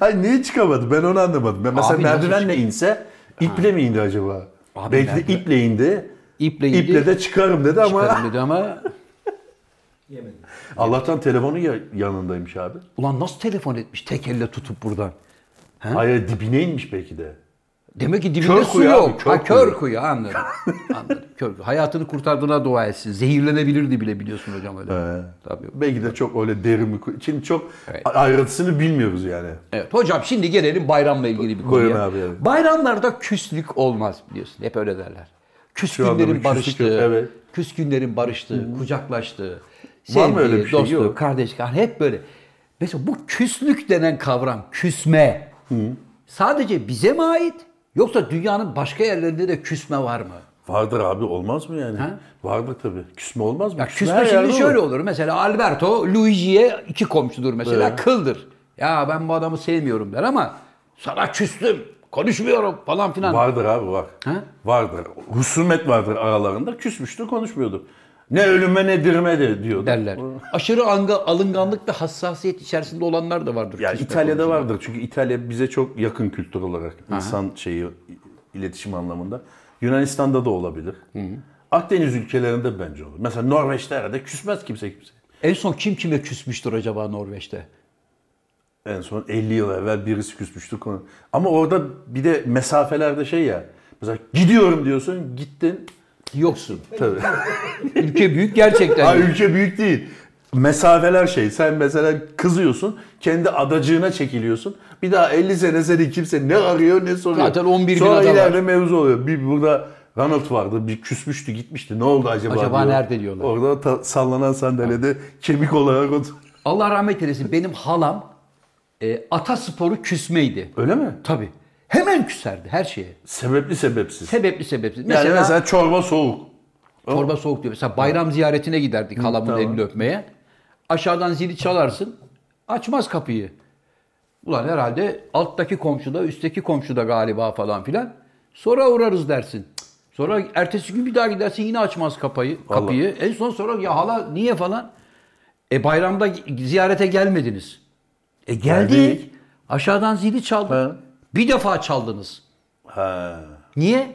Speaker 2: Ay niye çıkamadı ben onu anlamadım. Ben mesela
Speaker 3: Abi nasıl
Speaker 2: merdivenle inse iple mi indi acaba?
Speaker 3: Abi
Speaker 2: Belki de
Speaker 3: merdiven-
Speaker 2: iple indi.
Speaker 3: İple indi.
Speaker 2: İple de çıkarım dedi ama
Speaker 3: çıkarım dedi ama
Speaker 4: Yemedim.
Speaker 2: Allah'tan telefonu ya- yanındaymış abi.
Speaker 3: ulan nasıl telefon etmiş tek elle tutup buradan.
Speaker 2: Hayır dibine inmiş belki de.
Speaker 3: Demek ki dibinde
Speaker 2: Kör
Speaker 3: su
Speaker 2: kuyu abi,
Speaker 3: yok.
Speaker 2: kör
Speaker 3: ha, kör
Speaker 2: kuyu.
Speaker 3: kuyu anladım. anladım. Kör kuyu. Hayatını kurtardığına dua etsin. Zehirlenebilirdi bile biliyorsun hocam öyle. Tabii.
Speaker 2: Belki de çok öyle derin bir... kuy- Şimdi çok
Speaker 3: Evet.
Speaker 2: ayrıntısını bilmiyoruz yani.
Speaker 3: Evet hocam şimdi gelelim bayramla ilgili bir konuya.
Speaker 2: Buyurun abi, evet.
Speaker 3: Bayramlarda küslük olmaz biliyorsun. Hep öyle derler.
Speaker 2: anda bir
Speaker 3: Küskünlerin
Speaker 2: küslük
Speaker 3: barıştığı,
Speaker 2: yok, evet.
Speaker 3: küskünlerin barıştığı, kucaklaştığı,
Speaker 2: Var
Speaker 3: sevdiği,
Speaker 2: mı öyle bir şey?
Speaker 3: dostluğu,
Speaker 2: Yok.
Speaker 3: kardeşlik hep böyle. Mesela bu küslük denen kavram, küsme sadece bize mi ait yoksa dünyanın başka yerlerinde de küsme var mı?
Speaker 2: Vardır abi olmaz mı yani? Vardır tabii. Küsme olmaz mı?
Speaker 3: Ya küsme
Speaker 2: her
Speaker 3: şimdi
Speaker 2: yerde
Speaker 3: şöyle
Speaker 2: olur.
Speaker 3: olur. Mesela Alberto Luigi'ye iki komşudur mesela
Speaker 2: Evet.
Speaker 3: kıldır. Ya ben bu adamı sevmiyorum der ama sana küstüm. Konuşmuyorum falan filan.
Speaker 2: Vardır abi var.
Speaker 3: Ha?
Speaker 2: Vardır. Husumet vardır aralarında. Küsmüştü konuşmuyordu. Ne ölüme ne dirime de diyordu.
Speaker 3: derler. Aşırı anga, alınganlık ve hassasiyet içerisinde olanlar da vardır.
Speaker 2: Ya
Speaker 3: küsme
Speaker 2: İtalya'da
Speaker 3: konusunda.
Speaker 2: vardır. Çünkü İtalya bize çok yakın kültür olarak. insan şeyi, iletişim anlamında. Yunanistan'da da olabilir. Akdeniz ülkelerinde bence olur. Mesela Norveç'te herhalde küsmez kimse kimse.
Speaker 3: En son kim kime küsmüştür acaba Norveç'te?
Speaker 2: En son 50 yıl evvel birisi küsmüştü konu. Ama orada bir de mesafelerde şey ya. Mesela gidiyorum diyorsun, gittin.
Speaker 3: Yoksun.
Speaker 2: Tabii.
Speaker 3: Ülke büyük gerçekten.
Speaker 2: Ay
Speaker 3: yok.
Speaker 2: ülke büyük değil. Mesafeler şey. Sen mesela kızıyorsun, kendi adacığına çekiliyorsun. Bir daha 50 sene seni kimse ne arıyor ne soruyor.
Speaker 3: Zaten 11 bin
Speaker 2: Sonra
Speaker 3: ada var.
Speaker 2: ileride mevzu oluyor. Bir burada Ronald vardı, bir küsmüştü gitmişti. Ne oldu acaba?
Speaker 3: Acaba nerede diyorlar.
Speaker 2: Orada ta- sallanan sandalyede kemik olarak otur.
Speaker 3: Allah rahmet eylesin benim halam e, ata sporu küsmeydi.
Speaker 2: Öyle mi?
Speaker 3: Tabii. Hemen küserdi her şeye.
Speaker 2: Sebepli sebepsiz.
Speaker 3: Sebepli sebepsiz.
Speaker 2: yani mesela çorba soğuk.
Speaker 3: Çorba soğuk diyor. Mesela bayram ziyaretine giderdik halamın
Speaker 2: tamam.
Speaker 3: elini öpmeye. Aşağıdan zili çalarsın. Açmaz kapıyı. Ulan herhalde alttaki komşuda, üstteki komşuda galiba falan filan. Sonra uğrarız dersin. Sonra ertesi gün bir daha gidersin yine açmaz kapıyı. kapıyı. En son sonra ya hala niye falan. E bayramda ziyarete gelmediniz. E geldik.
Speaker 2: Geldik.
Speaker 3: Aşağıdan zili çaldık.
Speaker 2: Ha.
Speaker 3: Bir defa çaldınız.
Speaker 2: Ha.
Speaker 3: Niye?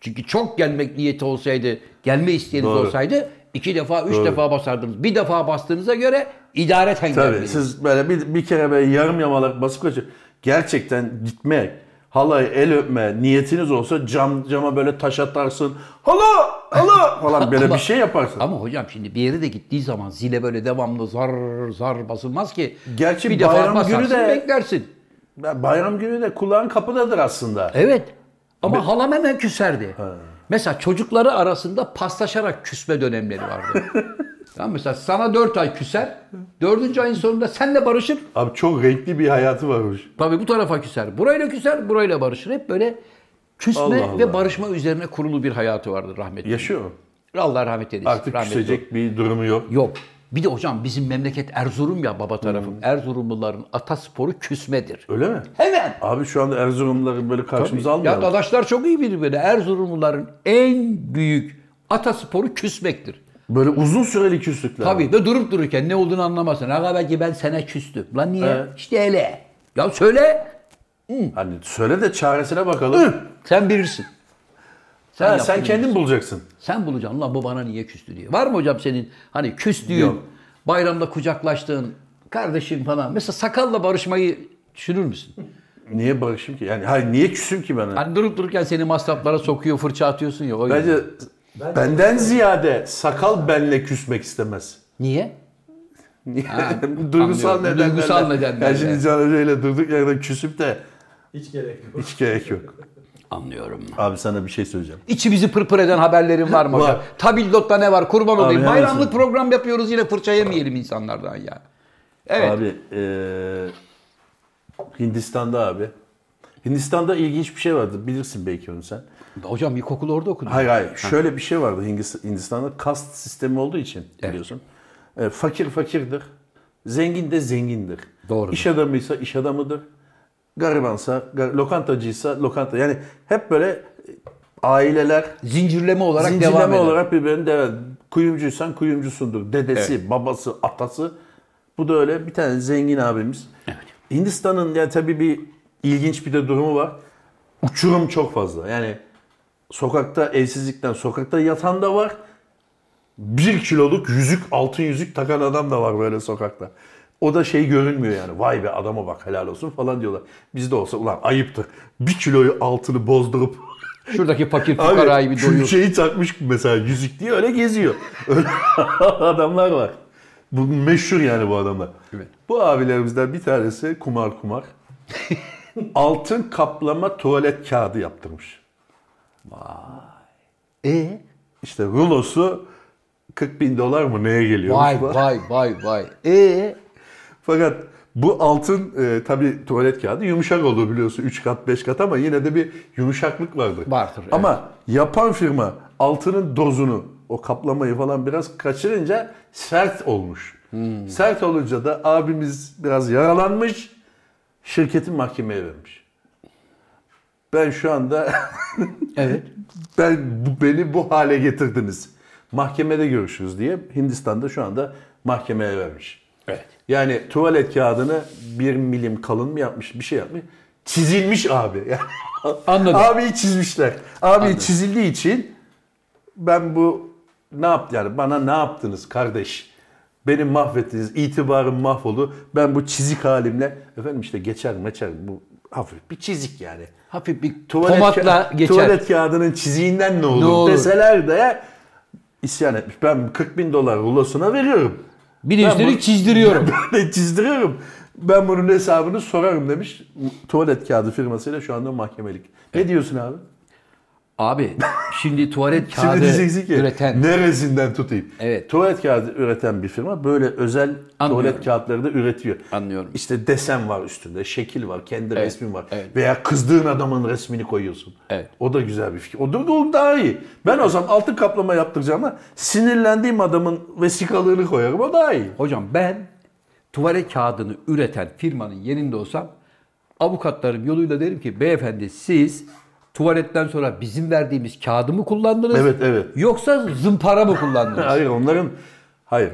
Speaker 3: Çünkü çok gelmek niyeti olsaydı, gelme isteğiniz
Speaker 2: Doğru.
Speaker 3: olsaydı iki defa, üç defa basardınız. Bir defa bastığınıza göre idareten
Speaker 2: Tabii
Speaker 3: gelmeniz.
Speaker 2: siz böyle bir, bir kere böyle yarım yamalak basıp kaçıyor. gerçekten gitmek, halay el öpme niyetiniz olsa cam cama böyle taş atarsın. Hala! Hala! falan böyle bir şey yaparsın.
Speaker 3: Ama hocam şimdi bir yere de gittiği zaman zile böyle devamlı zar zar basılmaz ki.
Speaker 2: Gerçi
Speaker 3: bir defa
Speaker 2: bayram günü
Speaker 3: basarsın
Speaker 2: de-
Speaker 3: beklersin.
Speaker 2: Ya Bayram günü de kulağın kapıdadır aslında.
Speaker 3: Evet. Ama halam hemen küserdi. Mesela çocukları arasında paslaşarak küsme dönemleri vardı. tamam mesela sana 4 ay küser. Dördüncü ayın sonunda senle barışır.
Speaker 2: Abi çok renkli bir hayatı varmış.
Speaker 3: Tabii bu tarafa küser. Burayla küser, burayla barışır. Hep böyle küsme
Speaker 2: Allah Allah.
Speaker 3: ve barışma üzerine kurulu bir hayatı vardır rahmetli.
Speaker 2: Yaşıyor mu?
Speaker 3: Allah rahmet eylesin.
Speaker 2: Artık
Speaker 3: Rahmetli
Speaker 2: küsecek bir durumu yok.
Speaker 3: Yok. Bir de hocam bizim memleket Erzurum ya baba tarafım.
Speaker 2: Hmm.
Speaker 3: Erzurumluların atasporu küsmedir.
Speaker 2: Öyle mi?
Speaker 3: Hemen.
Speaker 2: Abi şu anda Erzurumluları böyle karşımıza
Speaker 3: Ya
Speaker 2: almayalım.
Speaker 3: dadaşlar çok iyi bilir beni. Erzurumluların en büyük atasporu küsmektir.
Speaker 2: Böyle uzun süreli küslükler.
Speaker 3: Tabii ve durup dururken ne olduğunu anlamazsın. Aga belki ben sana küstüm. Lan niye?
Speaker 2: Evet.
Speaker 3: İşte hele. Ya söyle.
Speaker 2: Hani söyle de çaresine bakalım.
Speaker 3: Sen bilirsin. Sen,
Speaker 2: Ha,
Speaker 3: yaptın.
Speaker 2: sen kendin bulacaksın.
Speaker 3: Sen bulacaksın lan bu bana niye küstü diye. Var mı hocam senin hani küstüğün,
Speaker 2: Yok.
Speaker 3: bayramda kucaklaştığın kardeşin falan. Mesela sakalla barışmayı düşünür müsün?
Speaker 2: Niye barışayım ki? Yani hayır niye küsüm ki ben?
Speaker 3: Hani durup dururken seni masraflara sokuyor, fırça atıyorsun ya. O yüzden.
Speaker 2: Bence benden ziyade sakal benle küsmek istemez.
Speaker 3: Niye?
Speaker 2: duygusal
Speaker 3: anlıyorum.
Speaker 2: nedenlerle.
Speaker 3: Duygusal nedenlerle.
Speaker 2: Yani şimdi Can Hoca ile durduk yerden küsüp de
Speaker 4: Hiç gerek yok.
Speaker 2: hiç gerek yok.
Speaker 3: Anlıyorum.
Speaker 2: Abi sana bir şey söyleyeceğim.
Speaker 3: İçi bizi pırpır eden haberlerin var mı hocam?
Speaker 2: Var.
Speaker 3: Tabildotta ne var? Kurban olayım.
Speaker 2: hemen
Speaker 3: Bayramlık
Speaker 2: söyle.
Speaker 3: program yapıyoruz yine fırça yemeyelim insanlardan ya. Evet.
Speaker 2: Abi eee, Hindistan'da abi. Hindistan'da ilginç bir şey vardı. Bilirsin belki onu sen.
Speaker 3: Hocam ilkokulu orada okudun.
Speaker 2: Hayır hayır. Şöyle bir şey vardı Hindis- Hindistan'da kast sistemi olduğu için biliyorsun. E, fakir fakirdir. Zengin de zengindir.
Speaker 3: Doğrudur.
Speaker 2: İş adamıysa iş adamıdır. Garibansa, gar- lokantacıysa lokanta. Yani hep böyle e, aileler
Speaker 3: Zincirleme olarak
Speaker 2: zincirleme
Speaker 3: devam eder.
Speaker 2: olarak birbirini devam Kuyumcuysan kuyumcusundur. Dedesi, babası, atası. Bu da öyle bir tane zengin abimiz. Hindistan'ın ya tabii bir ilginç bir de durumu var. Uçurum çok fazla. Yani sokakta evsizlikten sokakta yatan da var. Bir kiloluk yüzük, altın yüzük takan adam da var böyle sokakta. O da şey görünmüyor yani. Vay be adama bak helal olsun falan diyorlar. Bizde olsa ulan ayıptır. Bir kiloyu altını bozdurup
Speaker 3: Şuradaki fakir
Speaker 2: Abi şey
Speaker 3: fukarayı bir
Speaker 2: şu
Speaker 3: doyur.
Speaker 2: şeyi takmış mesela yüzük diye öyle geziyor. Öyle adamlar var. Bu meşhur yani bu adamlar.
Speaker 3: Evet.
Speaker 2: Bu abilerimizden bir tanesi kumar kumar. Altın kaplama tuvalet kağıdı yaptırmış.
Speaker 3: E?
Speaker 2: İşte rulosu 40 bin dolar mı neye geliyor?
Speaker 3: Vay vay vay vay. E
Speaker 2: Fakat bu altın e, tabi tuvalet kağıdı yumuşak olur biliyorsun 3 kat 5 kat ama yine de bir yumuşaklık vardır.
Speaker 3: Vardır, evet.
Speaker 2: Ama yapan firma altının dozunu o kaplamayı falan biraz kaçırınca sert olmuş.
Speaker 3: Hmm.
Speaker 2: Sert olunca da abimiz biraz yaralanmış şirketin mahkemeye vermiş. Ben şu anda
Speaker 3: evet.
Speaker 2: ben bu, beni bu hale getirdiniz. Mahkemede görüşürüz diye Hindistan'da şu anda mahkemeye vermiş.
Speaker 3: Evet.
Speaker 2: Yani tuvalet kağıdını bir milim kalın mı yapmış bir şey yapmış. Çizilmiş abi. Yani
Speaker 3: Anladım.
Speaker 2: Abiyi çizmişler. Abi çizildiği için ben bu ne yaptı yani bana ne yaptınız kardeş? Beni mahvettiniz, itibarım mahvoldu. Ben bu çizik halimle efendim işte geçer meçer bu hafif bir çizik yani.
Speaker 3: Hafif bir
Speaker 2: Tuvalet,
Speaker 3: tomatla
Speaker 2: ka-
Speaker 3: geçer.
Speaker 2: tuvalet kağıdının çiziğinden ne olur,
Speaker 3: olur?
Speaker 2: deseler de isyan etmiş. Ben 40 bin dolar rulosuna veriyorum.
Speaker 3: Bir
Speaker 2: Ben
Speaker 3: üstelik
Speaker 2: bunu-
Speaker 3: çizdiriyorum.
Speaker 2: Ben de çizdiriyorum. Ben bunun hesabını sorarım demiş. Tuvalet kağıdı firmasıyla şu anda mahkemelik. Ne diyorsun abi?
Speaker 3: Abi şimdi tuvalet
Speaker 2: Şimdi
Speaker 3: kağıdı
Speaker 2: diyeceksin ki
Speaker 3: üreten
Speaker 2: neresinden tutayım?
Speaker 3: Evet.
Speaker 2: Tuvalet kağıdı üreten bir firma böyle özel
Speaker 3: Anlıyorum.
Speaker 2: tuvalet kağıtları da üretiyor.
Speaker 3: Anlıyorum.
Speaker 2: İşte desen var üstünde, şekil var, kendi resmin var.
Speaker 3: evet.
Speaker 2: Veya kızdığın adamın resmini koyuyorsun.
Speaker 3: Evet.
Speaker 2: O da güzel bir fikir. O da o daha iyi. Ben o zaman altın kaplama yaptıracağıma sinirlendiğim adamın vesikalığını koyarım. O daha iyi.
Speaker 3: Hocam ben tuvalet kağıdını üreten firmanın yerinde olsam avukatlarım yoluyla derim ki beyefendi siz tuvaletten sonra bizim verdiğimiz kağıdı mı kullandınız?
Speaker 2: Evet, evet.
Speaker 3: Yoksa zımpara mı kullandınız?
Speaker 2: Hayır onların hayır.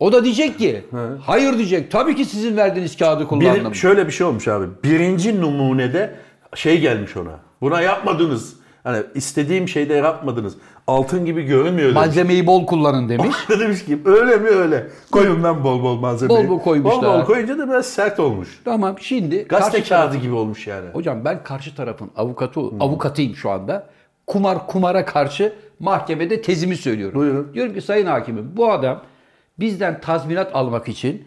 Speaker 3: o da diyecek ki hayır diyecek. Tabii ki sizin verdiğiniz kağıdı kullandım.
Speaker 2: Bir, şöyle bir şey olmuş abi. Birinci numunede şey gelmiş ona. Buna yapmadınız. Hani istediğim şeyde yapmadınız. altın gibi görünmüyor demiş.
Speaker 3: Malzemeyi bol kullanın demiş.
Speaker 2: demiş ki öyle mi öyle. Koyun lan bol bol malzemeyi.
Speaker 3: Bol bol koymuşlar.
Speaker 2: Bol bol koyunca da biraz sert olmuş.
Speaker 3: tamam şimdi
Speaker 2: Gazete
Speaker 3: karşı
Speaker 2: kağıdı gibi olmuş yani.
Speaker 3: Hocam ben karşı tarafın avukatı, avukatıyım şu anda. Kumar kumara karşı mahkemede tezimi söylüyorum.
Speaker 2: Buyurun.
Speaker 3: Diyorum ki sayın hakimim bu adam bizden tazminat almak için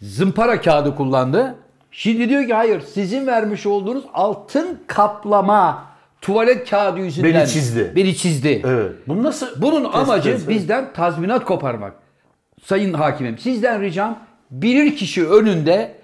Speaker 3: zımpara kağıdı kullandı. Şimdi diyor ki hayır sizin vermiş olduğunuz altın kaplama tuvalet kağıdı yüzünden.
Speaker 2: Beni çizdi.
Speaker 3: Beni çizdi.
Speaker 2: Evet. Bu nasıl?
Speaker 3: Bunun
Speaker 2: tespit
Speaker 3: amacı
Speaker 2: etseniz?
Speaker 3: bizden tazminat koparmak. Sayın hakimim sizden ricam bilir kişi önünde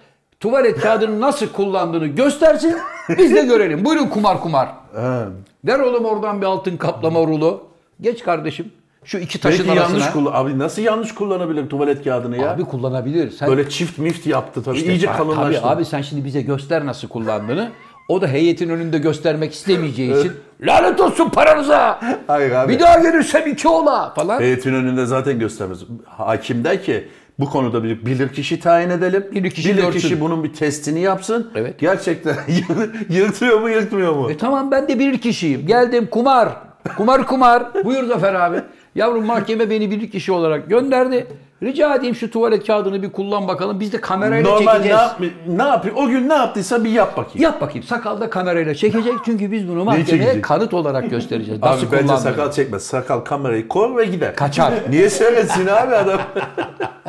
Speaker 3: tuvalet kağıdını nasıl kullandığını göstersin biz de görelim. Buyurun kumar kumar.
Speaker 2: Ha.
Speaker 3: Ver oğlum oradan bir altın kaplama rulo. Geç kardeşim şu iki taşın
Speaker 2: Belki
Speaker 3: arasına.
Speaker 2: yanlış kullan. Abi nasıl yanlış kullanabilir tuvalet kağıdını ya?
Speaker 3: Abi kullanabilir. Sen
Speaker 2: Böyle çift mift yaptı tabii. İyice
Speaker 3: Ha,
Speaker 2: kalınlaştı.
Speaker 3: Tabii abi sen şimdi bize göster nasıl kullandığını. O da heyetin önünde göstermek istemeyeceği için lanet olsun paranıza.
Speaker 2: Hayır abi.
Speaker 3: Bir daha gelirsem iki ola falan.
Speaker 2: Heyetin önünde zaten göstermez. Hakim der ki bu konuda bir bilirkişi tayin edelim.
Speaker 3: Bilirkişi görsün.
Speaker 2: bunun bir testini yapsın.
Speaker 3: Evet.
Speaker 2: Gerçekten yırtıyor mu yırtmıyor mu?
Speaker 3: E tamam ben de bir kişiyim. Geldim kumar. Kumar kumar. Buyur Zafer abi. Yavrum mahkeme beni bir kişi olarak gönderdi. Rica edeyim şu tuvalet kağıdını bir kullan bakalım. Biz de kamerayla
Speaker 2: Normal ne,
Speaker 3: çekeceğiz.
Speaker 2: yap, ne yapıyor? O gün ne yaptıysa bir yap bakayım.
Speaker 3: Yap bakayım. Sakal da kamerayla çekecek. Çünkü biz bunu mahkemeye
Speaker 2: çekecek?
Speaker 3: kanıt olarak göstereceğiz. Nasıl
Speaker 2: Abi bence
Speaker 3: kullandığını.
Speaker 2: sakal çekmez. Sakal kamerayı kor ve gider.
Speaker 3: Kaçar.
Speaker 2: Niye söylesin abi adam?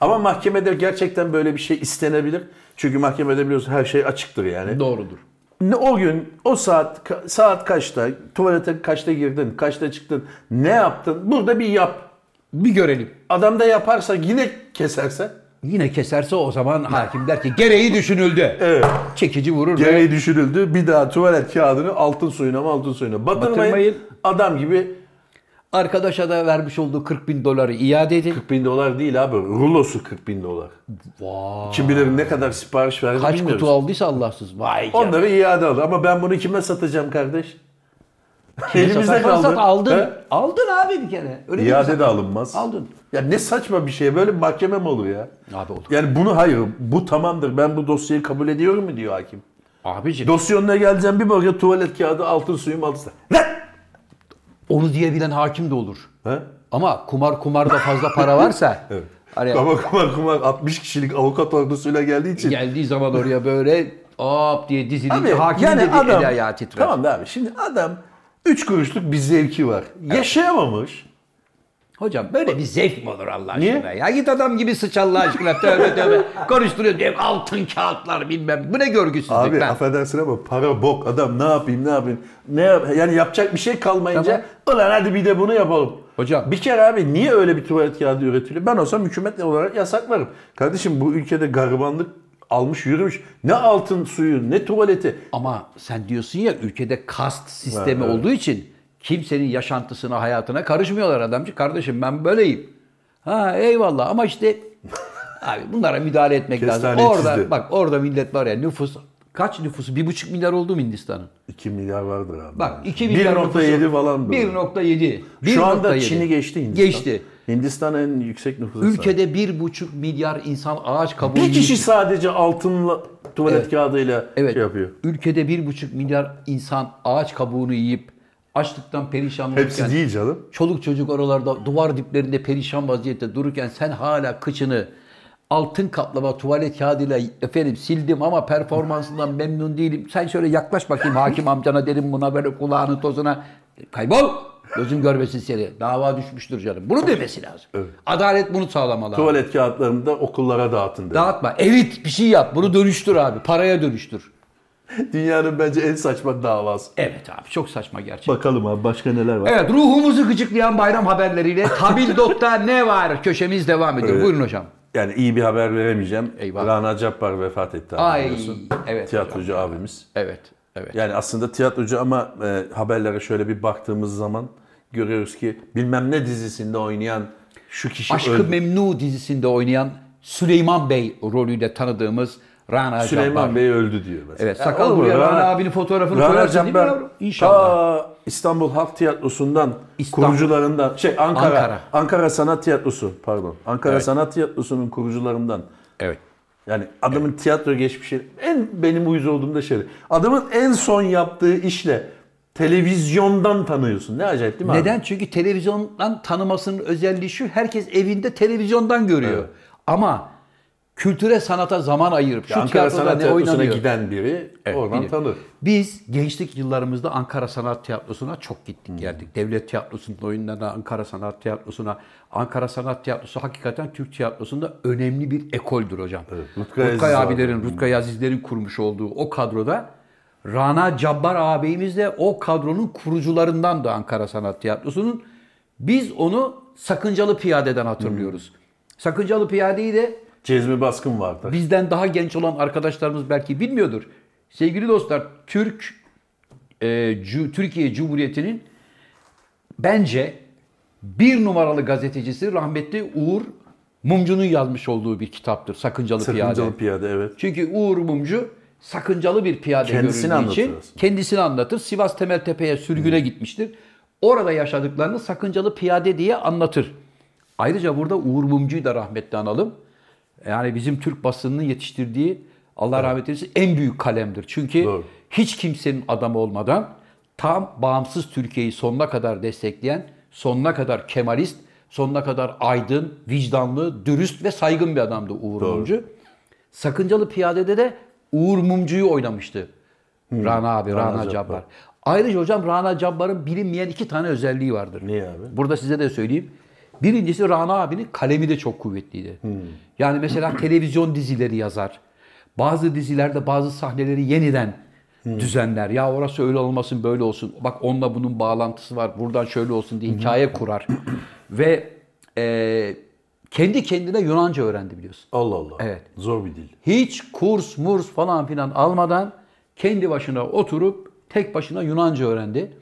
Speaker 2: Ama mahkemede gerçekten böyle bir şey istenebilir. Çünkü mahkemede biliyorsun her şey açıktır yani.
Speaker 3: Doğrudur.
Speaker 2: Ne o gün, o saat ka- saat kaçta, tuvalete kaçta girdin, kaçta çıktın, ne yaptın? Burada bir yap.
Speaker 3: Bir görelim.
Speaker 2: Adam da yaparsa yine keserse
Speaker 3: Yine keserse o zaman hakim der ki gereği düşünüldü.
Speaker 2: Evet.
Speaker 3: Çekici vurur. ve-
Speaker 2: gereği düşünüldü. Bir daha tuvalet kağıdını altın suyuna mı altın suyuna batırmayın.
Speaker 3: Batırmayın.
Speaker 2: Adam gibi
Speaker 3: Arkadaşa da vermiş olduğu 40 bin doları iade edin.
Speaker 2: 40 bin dolar değil abi. Rulosu 40 bin dolar.
Speaker 3: Vay.
Speaker 2: Kim bilir ne kadar sipariş verdi
Speaker 3: Kaç
Speaker 2: bilmiyoruz.
Speaker 3: kutu aldıysa Allahsız. Vay ya.
Speaker 2: Onları iade aldı ama ben bunu kime satacağım kardeş?
Speaker 3: Elimizde
Speaker 2: Elimizde kaldı.
Speaker 3: aldın.
Speaker 2: He?
Speaker 3: Aldın abi bir kere. Öyle değil mi
Speaker 2: İade
Speaker 3: sen?
Speaker 2: de alınmaz.
Speaker 3: Aldın.
Speaker 2: Ya ne saçma bir şey. Böyle bir mahkeme mi olur ya?
Speaker 3: Abi olur.
Speaker 2: Yani bunu hayır. Bu tamamdır. Ben bu dosyayı kabul ediyorum mu diyor hakim.
Speaker 3: Abiciğim
Speaker 2: Dosya önüne geleceğim bir bakıyor tuvalet kağıdı altın suyum altın. Ne?
Speaker 3: onu diyebilen hakim de olur.
Speaker 2: Ha?
Speaker 3: Ama kumar kumarda fazla para varsa hani
Speaker 2: Kama kumar kumar 60 kişilik avukat ordusuyla geldiği için.
Speaker 3: geldiği zaman oraya böyle hop diye dizilince
Speaker 2: Abi,
Speaker 3: hakim de bir eli ayağı titrer.
Speaker 2: Tamam da abi şimdi adam 3 kuruşluk bir zevki var. Yaşayamamış.
Speaker 3: Hocam böyle bir zevk mi olur Allah
Speaker 2: Niye?
Speaker 3: aşkına? Ya git adam gibi sıç Allah aşkına. Tövbe tövbe. Konuşturuyor diye altın kağıtlar bilmem. Bu ne görgüsüzlük
Speaker 2: Abi
Speaker 3: lan?
Speaker 2: affedersin ama para bok adam ne yapayım ne yapayım. Ne yap yani yapacak bir şey kalmayınca ulan hadi bir de bunu yapalım.
Speaker 3: Hocam.
Speaker 2: Bir kere abi niye öyle bir tuvalet kağıdı üretiliyor? Ben olsam hükümet olarak yasaklarım. Kardeşim bu ülkede garibanlık almış yürümüş. Ne altın suyu ne tuvaleti.
Speaker 3: Ama sen diyorsun ya ülkede kast sistemi
Speaker 2: Evet.
Speaker 3: olduğu için kimsenin yaşantısına, hayatına karışmıyorlar adamcı. Kardeşim ben böyleyim. Ha eyvallah ama işte abi bunlara müdahale etmek lazım.
Speaker 2: Kestaneye
Speaker 3: Orada
Speaker 2: çizdi.
Speaker 3: bak orada millet var ya nüfus kaç nüfusu? Bir buçuk milyar oldu mu Hindistan'ın?
Speaker 2: 2 milyar vardır abi.
Speaker 3: Bak 2 milyar
Speaker 2: 1.7 falan böyle.
Speaker 3: 1.7.
Speaker 2: Şu anda
Speaker 3: 1.7.
Speaker 2: Çin'i geçti Hindistan.
Speaker 3: Geçti.
Speaker 2: Hindistan en yüksek nüfusa sahip.
Speaker 3: Ülkede bir buçuk milyar insan ağaç kabuğu
Speaker 2: Bir kişi
Speaker 3: yiyip-
Speaker 2: sadece altınla tuvalet
Speaker 3: Evet.
Speaker 2: kağıdıyla
Speaker 3: Evet.
Speaker 2: şey yapıyor.
Speaker 3: Ülkede bir buçuk milyar insan ağaç kabuğunu yiyip açlıktan perişan
Speaker 2: Hepsi
Speaker 3: olurken-
Speaker 2: değil canım.
Speaker 3: Çoluk çocuk oralarda duvar diplerinde perişan vaziyette dururken sen hala kıçını altın kaplama tuvalet kağıdıyla efendim sildim ama performansından memnun değilim. Sen şöyle yaklaş bakayım hakim amcana derim buna böyle kulağını tozuna kaybol. Gözüm görmesin seni. Dava düşmüştür canım. Bunu demesi lazım. Adalet bunu sağlamalı. abi.
Speaker 2: Tuvalet kağıtlarını da okullara dağıtın dedi.
Speaker 3: Dağıtma. Erit bir şey yap. Bunu dönüştür abi. Paraya dönüştür.
Speaker 2: Dünyanın bence en saçma davası.
Speaker 3: Evet abi çok saçma gerçekten.
Speaker 2: Bakalım abi başka neler var.
Speaker 3: Evet ruhumuzu gıcıklayan bayram haberleriyle Tabildot'ta ne var köşemiz devam ediyor.
Speaker 2: Evet.
Speaker 3: Buyurun hocam.
Speaker 2: Yani iyi bir haber veremeyeceğim.
Speaker 3: Eyvah.
Speaker 2: Rana Cappar vefat etti abi
Speaker 3: Ay,
Speaker 2: biliyorsun.
Speaker 3: evet
Speaker 2: Tiyatrocu abimiz.
Speaker 3: Evet. Evet.
Speaker 2: Yani aslında tiyatrocu ama e, haberlere şöyle bir baktığımız zaman görüyoruz ki bilmem ne dizisinde oynayan şu kişi
Speaker 3: Aşkı
Speaker 2: öldü.
Speaker 3: Memnu dizisinde oynayan Süleyman Bey rolüyle tanıdığımız Rana
Speaker 2: Süleyman
Speaker 3: Cabbar.
Speaker 2: Bey öldü diyor mesela.
Speaker 3: Evet, sakal
Speaker 2: olur mu?
Speaker 3: buraya Rana abinin fotoğrafını koyarsın değil mi
Speaker 2: Cabbar
Speaker 3: yavrum? İnşallah.
Speaker 2: ta İstanbul Halk Tiyatrosu'ndan
Speaker 3: İstanbul.
Speaker 2: kurucularından şey Ankara,
Speaker 3: Ankara.
Speaker 2: Ankara Sanat Tiyatrosu pardon. Ankara Sanat Tiyatrosu'nun kurucularından.
Speaker 3: Evet.
Speaker 2: Yani adamın tiyatro geçmişi en benim uyuz olduğum da şey. Adamın en son yaptığı işle Televizyondan tanıyorsun. Ne acayip değil mi
Speaker 3: Neden?
Speaker 2: abi?
Speaker 3: Çünkü televizyondan tanımasının özelliği şu. Herkes evinde televizyondan görüyor.
Speaker 2: Evet.
Speaker 3: Ama kültüre sanata zaman ayırıp şu
Speaker 2: Ankara
Speaker 3: tiyatroda
Speaker 2: Sanat
Speaker 3: ne
Speaker 2: Tiyatrosu'na
Speaker 3: oynanıyor.
Speaker 2: giden biri oradan
Speaker 3: Bilir.
Speaker 2: tanır.
Speaker 3: Biz gençlik yıllarımızda Ankara Sanat Tiyatrosu'na çok
Speaker 2: Hmm.
Speaker 3: gittik geldik. Devlet Tiyatrosu'nun oyunlarına, Ankara Sanat Tiyatrosu'na. Ankara Sanat Tiyatrosu hakikaten Türk tiyatrosunda önemli bir ekoldür hocam.
Speaker 2: Rutkay
Speaker 3: Rutkay,
Speaker 2: Aziz Hmm. abi.
Speaker 3: abilerin, Rutkay Azizlerin kurmuş olduğu o kadroda Rana Cabbar ağabeyimiz de o kadronun kurucularından da Ankara Sanat Tiyatrosu'nun. Biz onu Sakıncalı Piyade'den
Speaker 2: Hmm.
Speaker 3: hatırlıyoruz. Sakıncalı Piyade'yi de
Speaker 2: Cezmi Baskın vardı.
Speaker 3: Bizden daha genç olan arkadaşlarımız belki bilmiyordur. Sevgili dostlar, Türk e, Cu- Türkiye Cumhuriyeti'nin bence bir numaralı gazetecisi rahmetli Uğur Mumcu'nun yazmış olduğu bir kitaptır. Sakıncalı, Piyade.
Speaker 2: Sakıncalı piyade evet.
Speaker 3: Çünkü Uğur Mumcu sakıncalı bir piyade
Speaker 2: Kendisini
Speaker 3: görüldüğü için
Speaker 2: anlatır aslında.
Speaker 3: kendisini anlatır. Sivas Temeltepe'ye sürgüne gitmiştir. Orada yaşadıklarını sakıncalı piyade diye anlatır. Ayrıca burada Uğur Mumcu'yu da rahmetli analım. Yani bizim Türk basınının yetiştirdiği Allah rahmet eylesin en büyük kalemdir. Çünkü
Speaker 2: Doğru.
Speaker 3: hiç kimsenin adamı olmadan tam bağımsız Türkiye'yi sonuna kadar destekleyen, sonuna kadar Kemalist, sonuna kadar aydın, vicdanlı, dürüst ve saygın bir adamdı Uğur Mumcu. Sakıncalı Piyade'de de Uğur Mumcu'yu oynamıştı. Rana abi, Rana,
Speaker 2: Hmm. Rana
Speaker 3: Cabbar.
Speaker 2: Cabbar.
Speaker 3: Ayrıca hocam Rana Cabbar'ın bilinmeyen iki tane özelliği vardır.
Speaker 2: Niye abi?
Speaker 3: Burada size de söyleyeyim. Birincisi Rana abinin kalemi de çok kuvvetliydi.
Speaker 2: Hmm.
Speaker 3: Yani mesela televizyon dizileri yazar. Bazı dizilerde bazı sahneleri yeniden
Speaker 2: Hmm.
Speaker 3: düzenler. Ya orası öyle olmasın böyle olsun. Bak onunla bunun bağlantısı var. Buradan şöyle olsun
Speaker 2: Hmm.
Speaker 3: diye hikaye kurar. Ve e, kendi kendine Yunanca öğrendi biliyorsun.
Speaker 2: Allah Allah.
Speaker 3: Evet.
Speaker 2: Zor bir dil.
Speaker 3: Hiç kurs murs falan filan almadan kendi başına oturup tek başına Yunanca öğrendi.